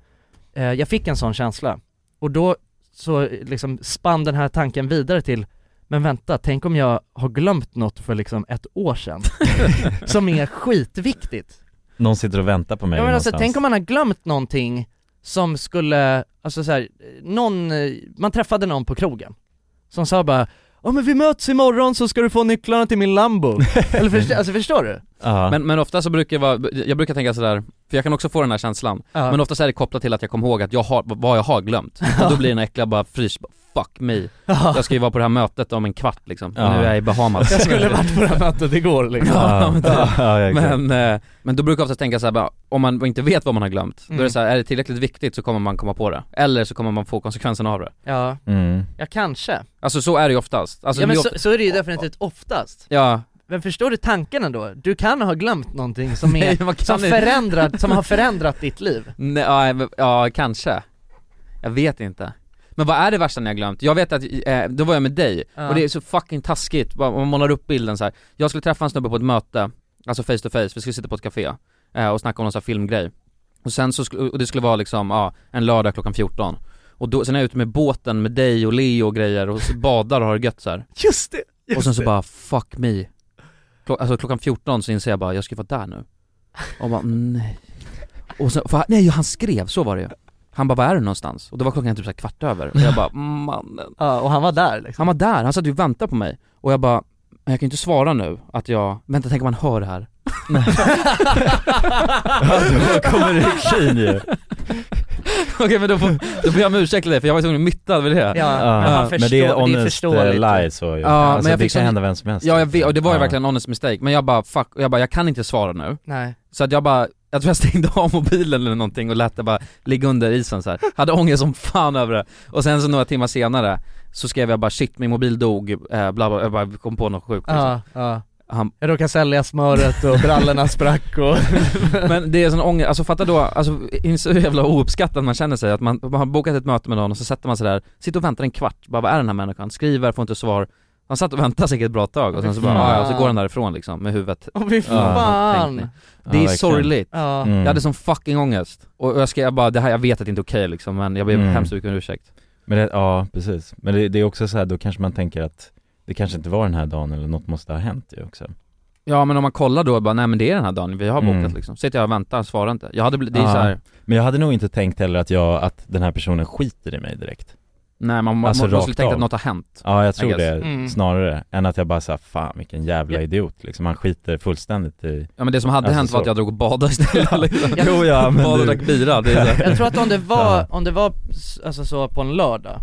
Eh, Jag fick en sån känsla, och då så eh, liksom spann den här tanken vidare till men vänta, tänk om jag har glömt något för liksom ett år sedan som är skitviktigt.
Någon sitter och väntar på mig
Ja, men alltså,
någonstans.
tänk om man har glömt någonting som skulle, alltså så här, någon, eh, man träffade någon på krogen som sa bara Ja men vi möts imorgon så ska du få nycklarna till min Lambo. Eller förstår, alltså förstår du?
Men, men ofta så brukar jag vara, jag brukar tänka sådär, för jag kan också få den här känslan,
Ja.
men ofta så är det kopplat till att jag kommer ihåg att jag har, vad jag har glömt. Och då blir den äckliga bara frys, bara, fuck me.
Ja.
Jag ska ju vara på det här mötet om en kvart liksom,
Ja.
och nu är jag i Bahamas.
Jag skulle varit på det här mötet igår liksom.
Ja, men,
Ja.
ja, exakt.
men, eh, men då brukar jag ofta tänka så här, bara, om man inte vet vad man har glömt, då är
Mm.
det så här, är det tillräckligt viktigt så kommer man komma på det. Eller så kommer man få konsekvenserna av det.
Ja,
Mm.
ja kanske.
Alltså så är det ju oftast. Alltså,
ja
det
men
är
så,
ofta-
så är det ju definitivt oftast.
ja.
Men förstår du tanken ändå? Du kan ha glömt någonting som, är,
Nej, man kan
som,
inte.
förändrat, som har förändrat ditt liv
Nej, ja, men- ja kanske. Jag vet inte. Men vad är det värsta ni har glömt? Jag vet att, eh, då var jag med dig,
Ja.
och det är så fucking taskigt, Bara- man målar upp bilden så här. Jag skulle träffa en snubbe på ett möte, alltså face to face, vi skulle sitta på ett café eh, och snacka om någon sån här filmgrej Och sen så, sk- och det skulle vara liksom, ja, en lördag klockan 14 Och då, sen är jag ute med båten med dig och Leo och grejer och så badar och har det gött så här.
Just det!
Och sen
just
så
det.
bara fuck me Klo- Alltså klockan 14 så inser jag bara, jag ska vara där nu Och bara nej Och sen, för, nej han skrev, så var det ju Han bara, var är du någonstans? Och då var klockan typ så här kvart över och jag bara mannen
Ja, och han var där liksom
Han var där, han satt ju och väntade på mig Och jag bara, men jag kan ju inte svara nu att jag, vänta tänk om han hör det här
Då kommer ryggkyn ju
Okej men då får, då får jag om ursäkt till dig för jag var ju tvungen att mytta, det var det
Ja, Ja, men han men förstår- det är det är honest, förståeligt. eh, lie, så ju.
ja,
Alltså,
men jag
det
fick
kan
sån-
hända vem som helst.
Ja jag vet, och det var ju
Ja.
verkligen en honest mistake Men jag bara fuck, och jag bara jag kan inte svara nu
Nej.
Så att jag bara, jag tror jag stängde av mobilen eller någonting och lät det bara ligga under isen så här. Hade ångest som fan över det Och sen så några timmar senare så skrev jag bara shit min mobil dog, eh, bla bla, jag bara kom på något sjukt liksom.
Ja, ja
Han-
Jag råkade sälja smöret och brallorna sprack och...
Men det är sån ångest, alltså fatta då, alltså inser hur jävla ouppskattad man känner sig att man, man har bokat ett möte med någon och så sätter man sig där, sitter och väntar en kvart, bara vad är den här människan? Skriver, får inte svar Han satt och väntade säkert ett bra tag och sen så bara, "Ah,
Fy
ja, ja, så
fan.
går han därifrån liksom med huvudet
Åh, fy
Ja,
fan.
tänk ni.
Ja,
Det är
verkligen.
sorgligt,
Ja. Mm.
jag hade sån fucking ångest Och och jag skrev bara, det här, jag vet att det inte är okej liksom men jag ber
Mm.
hemskt mycket om ursäkt
Men det, ja, precis. Men det, det är också så här, då kanske man tänker att det kanske inte var den här dagen eller något måste ha hänt ju också.
Ja men om man kollar då bara, nej men det är den här dagen vi har bokat
Mm.
liksom, sitter jag och väntar, svarar inte Jag hade, bl- det är så här,
Men jag hade nog inte tänkt heller att jag, att den här personen skiter i mig direkt.
nej man, man, man
rakt
skulle tänka
av.
att något har hänt
Ja, jag
I
tror
guess.
det
Mm.
snarare än att jag bara sa fan vilken jävla idiot liksom. Han skiter fullständigt i...
Ja men det som hade hänt var att jag drog och badade istället liksom.
Jo Alltså, ja, men
Badade och
du-
drack bira, det är så här.
Jag tror att om det var, om det var s- alltså så på en lördag,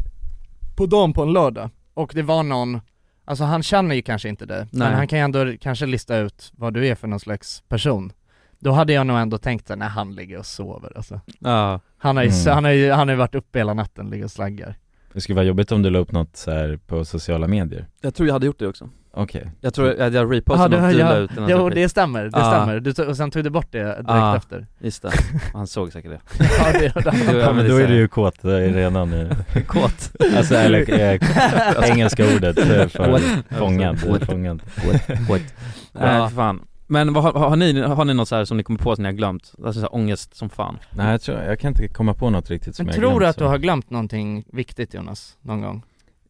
på dagen på en lördag, och det var någon, alltså han känner ju kanske inte dig, men
Nej.
han kan ju ändå kanske lista ut vad du är för någon slags person. Då hade jag nog ändå tänkt att när han ligger och sover alltså.
Ja.
Han har ju,
Mm.
han har ju, han har ju varit uppe hela natten, ligger och slaggar.
Det skulle vara jobbigt om du la upp något så här på sociala medier.
Jag tror jag hade gjort det också
Okej.
Jag
Mm.
tror att jag
Ja,
repostade
du-
något du la
ja,
ut eller något
Jo,
sånt.
det stämmer, det
Ja.
stämmer. Du, tog- och sen tog du bort det direkt
Ja,
efter.
just det. Han såg säkert det
Ja, det gjorde han.
Det var-
Ja, men då är du ju kåt eh, redan i...
Kåt?
Alltså eller eh, engelska ordet eh, för fångad.
Alltså,
fångad.
Nej
Ja.
för fan Men vad, har, har, ni, har ni något så här som ni kommer på som ni har glömt? Alltså så här, ångest som fan
Nej jag tror, jag kan inte komma på något riktigt som
Men
jag
tror du
glömt
att
så.
du har glömt någonting viktigt Jonas, någon gång?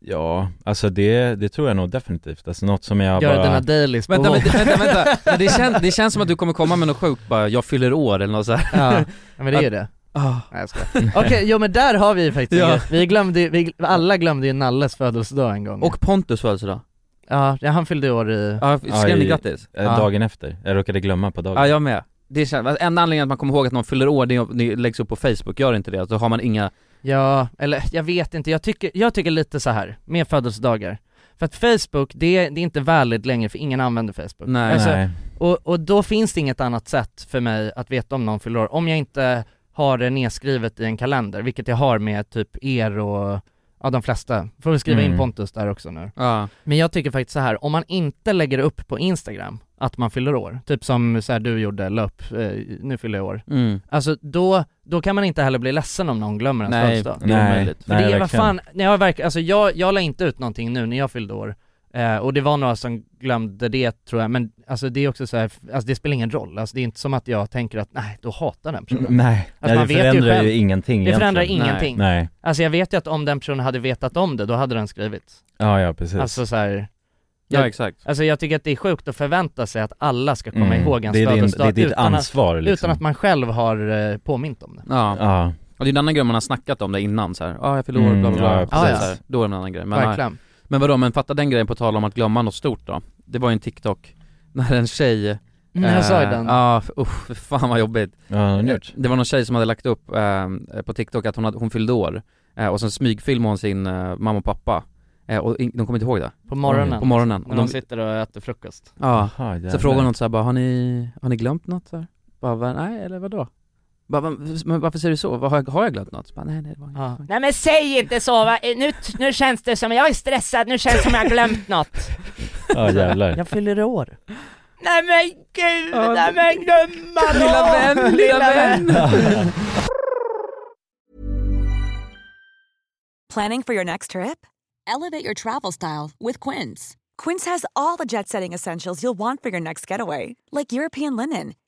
Ja, alltså det, det tror jag nog definitivt. Alltså något som jag
Göra
bara...
dina dailies på
Oh.
Vänta,
Volvo.
vänta, vänta, vänta. Men det, känns, det känns som att du kommer komma med något sjukt bara, jag fyller år eller något så här.
Ja, men det är ju
Att-
det.
Ah.
Nej jag skojar. Okej, jo men där har vi ju faktiskt
Ja.
ja. Vi glömde ju- vi, alla glömde ju Nalles födelsedag en gång
Och Pontus alltså födelsedag
Ja, ja, han fyllde år i...
Ja, skrev Ah, ni
i-
grattis?
eh,
Ja.
Dagen efter. Jag råkade glömma på dagen.
Ja jag med. Det känns, enda anledningen att man kommer ihåg att någon fyller år det är om det läggs upp på Facebook, gör inte det? Då har man inga,
Ja, eller jag vet inte, jag tycker, jag tycker lite så här med födelsedagar För att Facebook, det, är- det är inte valid längre för ingen använder Facebook Alltså,
Nej. Nej.
Och, och då finns det inget annat sätt för mig att veta om någon fyller år, om jag inte har det nedskrivet i en kalender, vilket jag har med typ er och, ja de flesta, får vi skriva in
Mm.
Pontus där också nu
ja.
Men jag tycker faktiskt så här, om man inte lägger upp på Instagram att man fyller år, typ som så här du gjorde, la upp, eh, nu fyller jag år.
Mm.
Alltså då, då kan man inte heller bli ledsen om någon glömmer ens
Nej,
födelsedag.
det är Nej, omöjligt.
För
nej,
det är vad
verkligen.
fan, nej, jag, verkar, alltså, jag, jag la inte ut någonting nu när jag fyllde år, eh, och det var några som glömde det tror jag, men alltså det är också så här, alltså det spelar ingen roll, alltså det är inte som att jag tänker att nej, då hatar den personen.
Mm, nej. Nej, det förändrar ju ingenting
Det förändrar
egentligen. Nej.
ingenting.
Nej.
Alltså jag vet ju att om den personen hade vetat om det, då hade den skrivit.
Ja, ja, precis.
Alltså så här,
Ja,
jag-
exakt.
Alltså jag tycker att det är sjukt att förvänta sig att alla ska komma
Mm,
ihåg ens
det är din-
födelsedag
det är ditt
utan,
ansvar,
att,
liksom.
utan att man själv har eh, påmint om det.
ja.
ja.
Och det är en annan grej man har snackat om det innan så här. ja jag fyller år,
Mm,
bla bla
ja,
bla,
ja,
Så här,
precis.
så här. då är det en annan grej men,
Verkligen.
men vadå, men fatta den grejen på tal om att glömma något stort då Det var ju en TikTok, när en tjej
Mm, jag såg
eh,
den.
Ja, usch, fy fan vad jobbigt Eh,
Ja, vad har hon gjort?
Det var någon tjej som hade lagt upp eh, på TikTok att hon, hade, hon fyllde år eh, och sen smygfilmade hon sin eh, mamma och pappa eh, och in, de kommer inte ihåg det
På morgonen.
På morgonen
När de sitter och äter frukost.
Ja,
Jaha, jävlar.
så frågar någon så här, bara, har ni, har ni glömt något? Så här? Bara, "Va- nej eller vadå? Bara, "Va- men varför säger du så? Vad Har jag, har jag glömt något? Så Bara, nej, nej, det var inget.
Nej men säg inte så va, Eh, nu, nu känns det som, jag är stressad, nu känns det som jag har glömt något.
Ja, jävlar.
Jag fyller år.
Nej men gud,
Ja,
nej men glömma då!
lilla vän, lilla vän.
Planning for your next trip? Elevate your travel style with Quince. Quince has all the jet setting essentials you'll want for your next getaway, like European linen,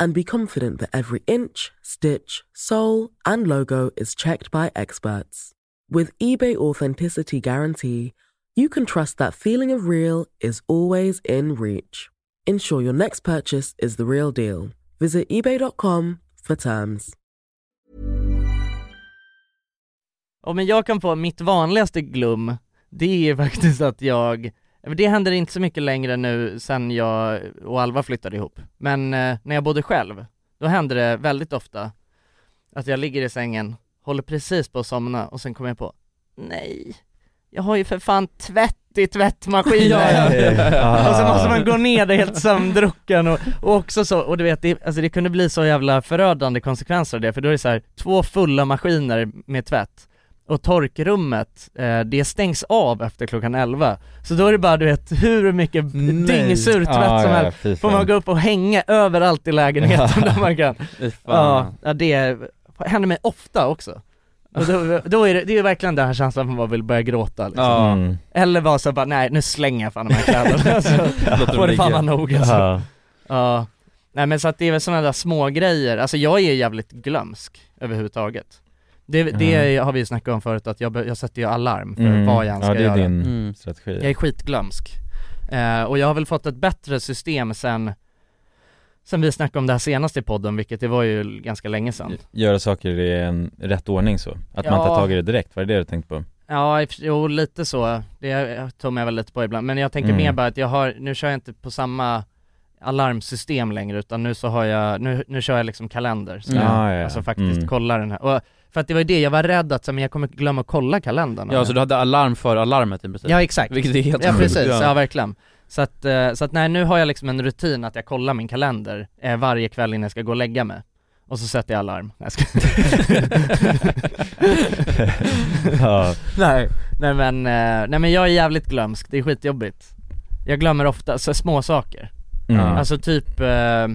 and be confident that every inch, stitch, sole, and logo is checked by experts. With eBay Authenticity Guarantee, you can trust that feeling of real is always in reach. Ensure your next purchase is the real deal. Visit eBay.com for terms.
Och men jag kan få mitt vanligaste glum, det är faktiskt att jag, men det händer inte så mycket längre nu sen jag och Alva flyttade ihop, men eh, när jag bodde själv, då hände det väldigt ofta att jag ligger i sängen, håller precis på att somna och sen kommer jag på, nej, jag har ju för fan tvätt i tvättmaskinen!
Ja, ja, ja,
Ah.
ja.
Och så måste man gå ner där helt sömndrucken och, och också så, och du vet, det, alltså det kunde bli så jävla förödande konsekvenser av det, för då är det så här, två fulla maskiner med tvätt och torkrummet, eh, det stängs av efter klockan 11 Så då är det bara du vet hur mycket dyngsur tvätt
Ah, Ja,
som
ja,
helst,
fy
får
fan.
man gå upp och hänga överallt i lägenheten där man kan
Fy fan.
Ja, ja det händer mig ofta också och då, då är det, det är ju verkligen den här känslan att man vill börja gråta liksom.
Ja. Mm.
Eller vara så bara, nej nu slänger jag fan de här kläderna alltså,
Låter dem
får det fan
ligga.
vara nog alltså.
Ja.
ja. Nej men så att det är väl sådana där små grejer. alltså jag är jävligt glömsk överhuvudtaget Det, det har vi ju snackat om förut, att jag, be- jag sätter ju alarm för
Mm.
vad jag än
Ja,
ska
det är
göra
din Mm. strategi.
Jag är skitglömsk eh, Och jag har väl fått ett bättre system sen Sen vi snackade om det här senast i podden, vilket det var ju ganska länge
Mm.
sedan
Göra saker i en rätt ordning så, att man
Ja.
tar tag i det direkt, var det det du tänkte på?
Ja, i och för- jo lite så. Det tummar jag väl lite på ibland. Men jag tänker
Mm.
mer bara att jag har, nu kör jag inte på samma alarmsystem längre utan nu så har jag, nu, nu kör jag liksom kalender. Så
Mm.
jag,
Ah, ja.
Alltså faktiskt
Mm.
kolla den här. Och, för att det var ju det, jag var rädd att så, här, men jag kommer glömma att kolla kalendern.
Ja, så du hade alarm för alarmet i princip?
Ja exakt.
Vilket är helt
Ja
sjukt.
precis, ja verkligen. Så att, eh, så att nej nu har jag liksom en rutin att jag kollar min kalender eh, varje kväll innan jag ska gå och lägga mig. Och så sätter jag alarm. Nej, jag skojar.
Ja.
nej, nej men, eh, nej men jag är jävligt glömsk, det är skitjobbigt. Jag glömmer ofta så, små saker.
Mm.
Alltså typ, eh,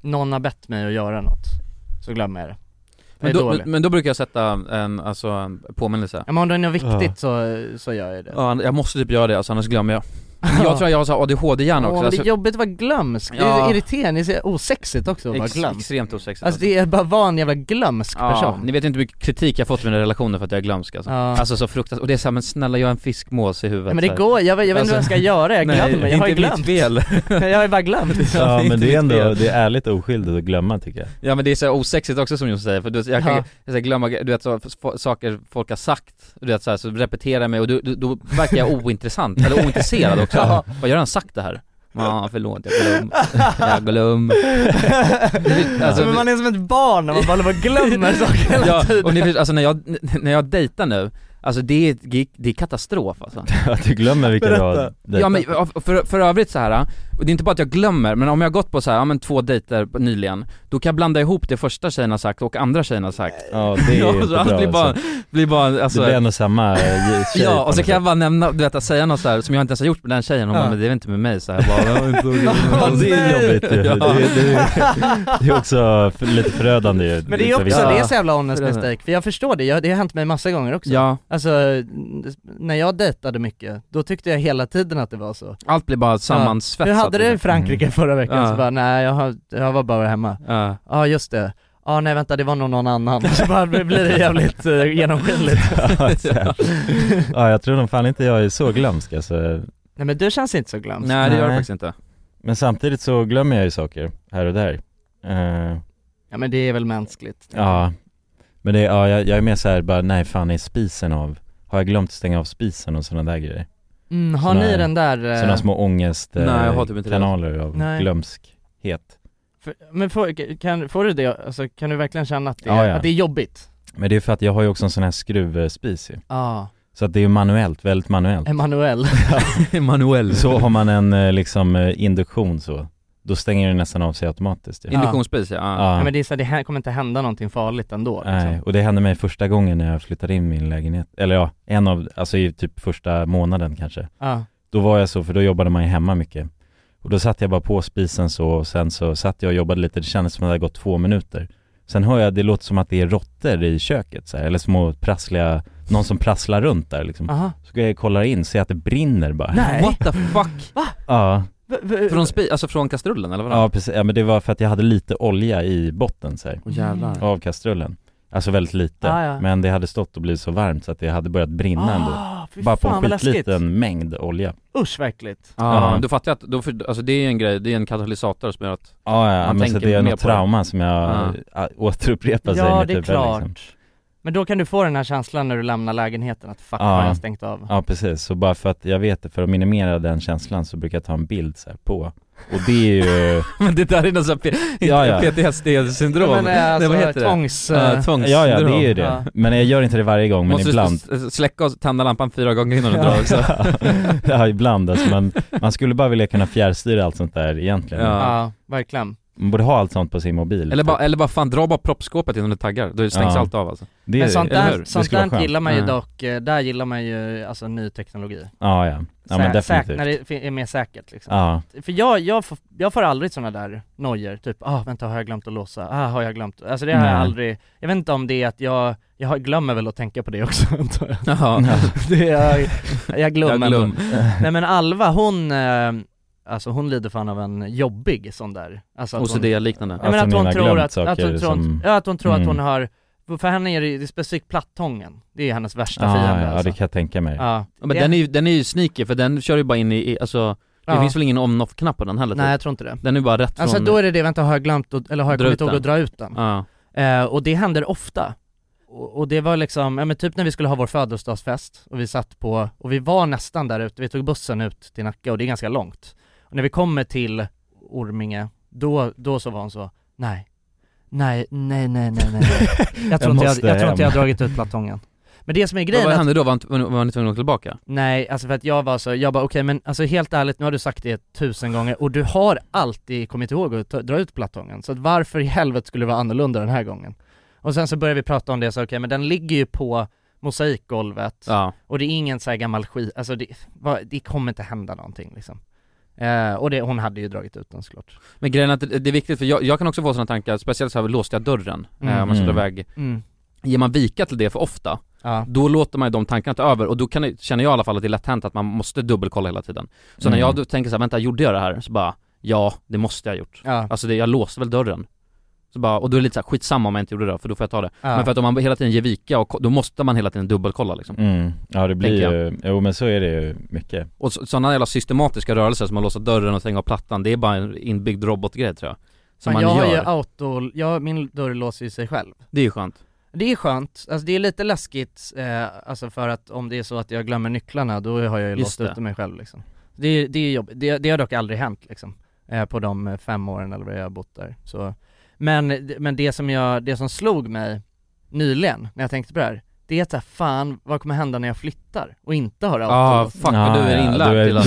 någon har bett mig att göra något, så glömmer jag det. Jag
Men
är
då,
dålig.
men då brukar jag sätta en, alltså, en påminnelse
Ja, men om det är något viktigt så, så gör jag det.
Ja, jag måste typ göra det, alltså, annars glömmer jag Jag tror jag har så här ADHD-hjärna
Åh,
också
det
alltså,
är jobbigt att vara glömsk, det är
Ja.
irriterande, det är så osexigt också att vara
Ex-
glömsk
extremt osexigt
Alltså det är bara vara en jävla glömsk
Ja,
person
ni vet inte hur mycket kritik jag fått för mina relationer för att jag är glömsk alltså.
Ja.
alltså så fruktansvärt, och det är såhär men snälla jag är en fiskmås i huvudet
Nej, men det
så här. Alltså-
går, jag vet- jag vet inte vad jag ska göra, jag glömmer,
nej,
jag har ju
Det är
glömt.
inte mitt fel
Jag har ju bara glömt
Ja men det är ändå,
fel.
det är ärligt och oskyldigt att glömma tycker jag
Ja men det är så här osexigt också som Jonsson säger, för du, vet, jag kan
Ja.
jag ska glömma, du vet så, f- saker folk har sagt, du vet så, här, så repeterar jag mig och du, du, då verkar jag ointressant, eller ointresserad också.
Ja.
Vad gör han sagt det här? Ja förlåt, jag glöm, jag glöm
alltså, men man är som ett barn när man bara håller på och glömmer saker hela
Ja,
tiden
och ni förstår, alltså när jag, när jag dejtar nu, alltså det är, det är katastrof alltså
Att du glömmer vilka du har
Ja men för, för övrigt så här och det är inte bara att jag glömmer, men om jag har gått på så här, ja men två dejter nyligen, då kan jag blanda ihop det första tjejen har sagt och andra tjejen har sagt.
Ja, det är
så
inte
allt
bra,
blir bara,
alltså.
blir bara alltså,
Det blir en och samma eh, tjej
Ja,
på
och så
något
kan jag bara nämna, du vet att säga något så här som jag inte ens har gjort med den tjejen, hon
Ja.
bara, men det är väl inte med mig så här, jag bara,
Ja, det är jobbigt ju.
Ja.
Det, det, det är också för- lite förödande ju.
Men det är
på
också,
vissa-
det är så jävla honest
Förödande.
mistake, för jag förstår det, jag, det har hänt mig massa gånger också
Ja.
Alltså, n- när jag dejtade mycket, då tyckte jag hela tiden att det var så
Allt blir bara sammansvetsat
Ja. Jag hade det i Frankrike
Mm.
förra veckan,
Ja.
så bara nej jag, har, jag var bara hemma
Ja,
ah, just det, ja ah, nej vänta det var nog någon annan, så bara blir det jävligt eh, genomskinligt
Ja, så här. ja, jag tror nog fan inte jag är så glömsk alltså.
Nej men du känns inte så glömsk
Nej det gör det faktiskt inte
Men samtidigt så glömmer jag ju saker här och där. Eh,
Ja men det är väl mänskligt
ja, men det, ja, jag, jag är mer så här bara, nej fan är spisen av? Har jag glömt att stänga av spisen och sådana där grejer?
Mm, har
Såna-
ni den där, eh,
Sådana små
Nej, jag har typ
ångestkanaler
inte det.
kanaler av
Nej.
glömskhet.
För, men får, kan, får du det, alltså, kan du verkligen känna att det,
Ja, ja.
Att det är jobbigt?
Men det är för att jag har ju också en sån här skruvspis ju.
Ja,
Så att det är ju manuellt, väldigt manuellt.
Emanuel
Manuell
Så har man en eh, liksom eh, induktion så, då stänger den nästan av sig automatiskt ju.
Induktionsspis, ja.
Ja.
ja men det, är så här, det här kommer inte hända någonting farligt ändå liksom.
Nej, och det hände mig första gången när jag flyttade in i min lägenhet, eller ja, en av, alltså i typ första månaden kanske.
Ja.
Då var jag så, för då jobbade man ju hemma mycket. Och då satt jag bara på spisen så, och sen så satt jag och jobbade lite, det kändes som att det hade gått två minuter. Sen hör jag, det låter som att det är råttor i köket så här, eller små prassliga, någon som prasslar runt där liksom.
Aha.
Så går jag och kollar in, ser att det brinner bara.
Nej.
What the fuck?
Ja.
Från spi, alltså från kastrullen eller vadå?
Ja precis, ja, men det var för att jag hade lite olja i botten så här,
Åh, jävlar.
av kastrullen Alltså väldigt lite,
Ah, ja. Ah,
men det hade stått och blivit så varmt så att det hade börjat brinna
Ah, fy
ändå Bara på
fan,
en
vad läskigt.
skitliten mängd olja
Usch verkligt
Ja,
Ja.
då fattar jag att, då, för, alltså det är en grej, det är en katalysator som gör att
Ja, ja
man
men så
tänker
det är
mer
något
på det.
trauma som jag
Ja.
ja. återupprepar sig
Ja
med
det är
typ, eller
klart Men då kan du få den här känslan när du lämnar lägenheten att fuck vad jag har stängt av
Ja precis, så bara för att jag vet det, för att minimera den känslan så brukar jag ta en bild så här på Och det är ju
Men det där är någon sån här P-
Ja, ja.
PTSD-syndrom
Men, eh, alltså,
Nej, vad heter det?
tvångs-
eh,
eh,
Ja, tvångssyndrom
Ja, ja det är ju det.
Ja.
Men jag gör inte det varje gång, men
Måste
ibland
du s- släcka och tända lampan fyra gånger innan du drar också
ja, ibland alltså, man, man skulle bara vilja kunna fjärrstyra allt sånt där egentligen
Ja.
Ja, verkligen
Man borde ha allt sånt på sin mobil
eller bara, eller bara fan, dra bara proppskåpet innan du taggar, då stängs
Ja.
allt av alltså
Det-
Men sånt
eller hur?
där,
Det
sånt
skulle vara
där
skönt. Mm.
gillar man ju
Ja.
dock, eh, där gillar man ju alltså ny teknologi
Ja, ja. Ja, men
Sä-
definitivt.
säk- När det fi- är mer säkert liksom
Ja.
För jag, jag, får, jag får aldrig såna där nojor, typ ah vänta har jag glömt att låsa, ah har jag glömt, alltså det har jag
Nej.
aldrig Jag vet inte om det är att jag, jag har- glömmer väl att tänka på det också antar jag
Jaha.
det är, jag, jag glömmer
Jag glöm.
ändå. Nej men Alva hon, eh, alltså hon lider fan av en jobbig sån där alltså att hon-
OCD-liknande.
Nej, men
Att
att
hon
hon
har
tror
glömt
att, att
saker
hon tror,
som-
ja, att hon tror att hon
Mm.
har, för henne är det, det är specifikt plattången, det är hennes värsta
Ah, Ja,
fiende
ja,
alltså.
det kan jag tänka mig.
Ja.
Ja, men den är, ju, den är ju sneaky för den kör ju bara in i, i alltså det
Ja.
finns väl ingen on-off-knapp på den heller typ.
Nej, jag tror inte det.
Den är bara rätt
Alltså
från
då är det det, vänta har jag glömt, att- eller har jag
Dra
kommit
ut
ihåg
den.
att dra ut den?
Ja.
Eh, och det händer ofta. Och, och det var liksom, ja men typ när vi skulle ha vår födelsedagsfest och vi satt på, och vi var nästan där ute, vi tog bussen ut till Nacka och det är ganska långt. Och när vi kommer till Orminge, då, då så var hon så, nej, nej, nej, nej, nej, nej. Jag tror,
Jag
inte, jag,
måste
jag tror inte jag har
hem.
dragit ut plattången. Men det som är
Vad
grejen
hände då? Var, han- var, var ni tvungna att gå tillbaka?
Nej, alltså för att jag var så, jag bara okej men alltså helt ärligt nu har du sagt det tusen gånger och du har alltid kommit ihåg att ta, dra ut plattången så att varför i helvete skulle det vara annorlunda den här gången? Och sen så började vi prata om det så okej men den ligger ju på mosaikgolvet
Ja.
och det är ingen så här gammal skit, alltså det, vad- det kommer inte hända någonting liksom. Eh, och det, hon hade ju dragit ut den såklart.
Men grejen är att det det är viktigt för jag, jag kan också få sådana tankar, speciellt såhär, låste jag dörren?
Mm.
Eh, om man ska dra
Mm.
iväg
Mm.
Ger man vika till det för ofta,
Ja.
då låter man ju de tankarna ta över och då kan, det- känner jag i alla fall att det är lätt hänt att man måste dubbelkolla hela tiden Så när
Mm.
jag då tänker såhär, vänta gjorde jag det här? Så bara, ja det måste jag ha gjort
Ja.
Alltså det, jag låste väl dörren så bara, och då är det lite såhär, skitsamma om jag inte gjorde det för då får jag ta det
Ja.
Men för att om man hela tiden ger vika, och, ko- då måste man hela tiden dubbelkolla liksom
Mm. Ja det blir
Tänker
ju, jo men så är det ju mycket
Och sådana jävla systematiska rörelser som att låsa dörren och stänga av plattan, det är bara en inbyggd robotgrej tror jag
Fan,
Som man
jag
gör,
har ju auto, jag, min dörr låser ju sig själv.
det är ju skönt
Det är skönt, alltså det är lite läskigt, eh, alltså för att om det är så att jag glömmer nycklarna då har jag ju
Just
låst
det.
ute mig själv liksom. Det, är- det är jobbigt, det, det har dock aldrig hänt liksom, eh, på de eh, fem åren eller vad jag har bott där. Så. Men, men det som jag, det som slog mig nyligen när jag tänkte på det här, det är att så här, fan vad kommer hända när jag flyttar och inte har auto?
Ja, ah, fuck vad du är inlärd till att-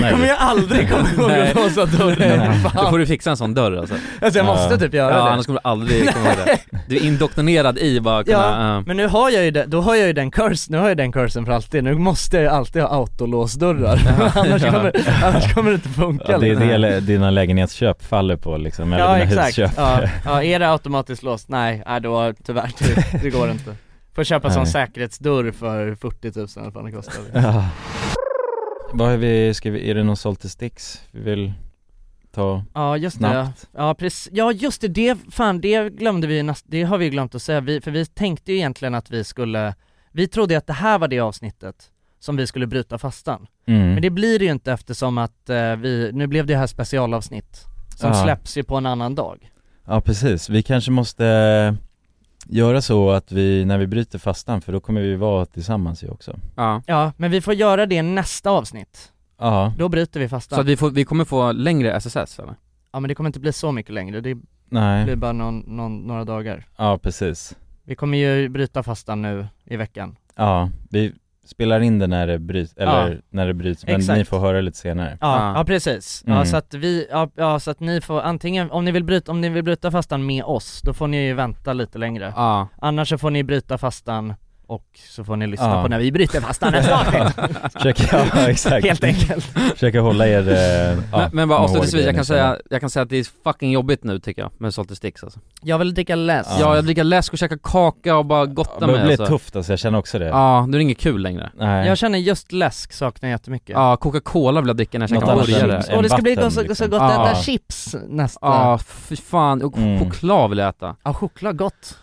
Det kommer jag aldrig komma ihåg
Nej.
att låsa dörren,
Nej. Då får
fan.
du fixa en sån dörr alltså
Alltså, jag måste
Ja.
typ göra
Ja
det.
annars kommer du aldrig komma ihåg det Du är indoktrinerad i bara kunna, eh,
Ja,
ja.
men nu har jag ju den, då har jag ju den curse, nu har jag den cursen för alltid, nu måste jag ju alltid ha autolåsdörrar, annars,
Ja.
kommer, annars kommer det inte funka
Ja, det är
liksom.
det hela dina lägenhetsköp faller på liksom, eller
Ja
dina
exakt,
husköp
ja, ja, är det automatiskt låst? Nej, nej då tyvärr, det, det går inte Får köpa en sån
Nej.
säkerhetsdörr för 40 000 eller vad fan det kostar
Ja. Vad har vi, ska vi, är det någon sålt till Stix vi vill ta
Ja just det, ja.
snabbt?
ja, precis. ja just det, det, fan det glömde vi, näst, det har vi glömt att säga, vi, för vi tänkte ju egentligen att vi skulle, vi trodde ju att det här var det avsnittet som vi skulle bryta fastan.
Mm.
Men det blir det ju inte eftersom att eh, vi, nu blev det här specialavsnitt som
Ja.
släpps ju på en annan dag.
Ja precis, vi kanske måste eh, göra så att vi, när vi bryter fastan, för då kommer vi vara tillsammans ju också
Ja.
Ja, men vi får göra det i nästa avsnitt.
Ja,
Då bryter vi fastan.
Så att vi, får, vi kommer få längre SSS eller?
Ja men det kommer inte bli så mycket längre, det
Nej.
blir bara någon, någon, några dagar.
ja precis
Vi kommer ju bryta fastan nu i veckan.
Ja, vi spelar in det när det bryts, eller
Ja.
när det bryts, men
Exakt.
ni får höra lite senare
Ja, ja precis. Ja,
Mm.
så att vi, ja, ja så att ni får antingen, om ni vill bryta, om ni vill bryta fastan med oss, då får ni ju vänta lite längre.
Ja.
Annars så får ni bryta fastan och så får ni lyssna
Ja.
på när vi bryter fastan nästa avsnitt.
Försöker, ja, exakt.
Helt enkelt.
Försöker hålla er, eh, ja,
men, men bara
ihåg
avslutningsvis,
det liksom.
jag
ni känner.
kan, säga, jag kan säga att det är fucking jobbigt nu tycker jag med Salty Sticks alltså.
Jag vill dricka läsk.
Ja, jag dricker läsk och käkar kaka och bara gotta
Det
mig
blir
alltså.
tufft alltså, jag känner också det
Ja, nu är det inget kul längre
Nej.
Jag känner just läsk saknar jag jättemycket.
Ja, Coca-Cola vill jag dricka när jag
Något
käkar
annat än
burgare
chips.
Och det ska bli
vatten,
så, så
liksom.
gott att
Ja.
äta chips nästa.
Ja, fy fan, och ch- choklad vill jag äta
Ja, choklad gott.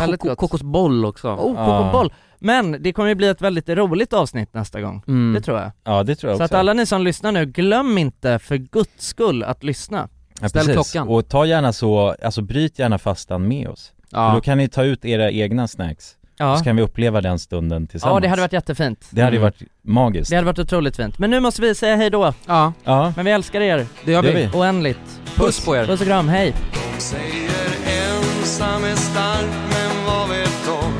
Väldigt gott Ah, Kokosboll också
Oh, kokosboll. Men det kommer ju bli ett väldigt roligt avsnitt nästa gång.
Mm.
Det tror jag.
Ja det tror jag
Så att
också
alla ni som lyssnar nu, glöm inte för guds skull att lyssna.
Ja, precis. Och ta gärna så, alltså bryt gärna fastan med oss.
Ja.
För då kan ni ta ut era egna snacks.
Ja.
Så kan vi uppleva den stunden tillsammans.
Ja, det hade varit jättefint.
Det hade ju
Mm.
varit magiskt.
Det hade varit otroligt fint. Men nu måste vi säga hej då.
Ja.
Ja.
Men vi älskar er.
Det gör Det vi. gör vi.
Oändligt.
Puss på er.
Puss och kram, hej.
Säger ensam är stark men vad vet de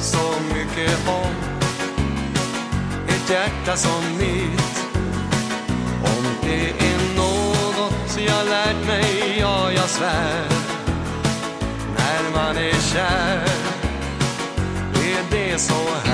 så mycket om ett hjärta som mitt Om det är något jag lärt mig, ja jag svär när man är kär är det så här
e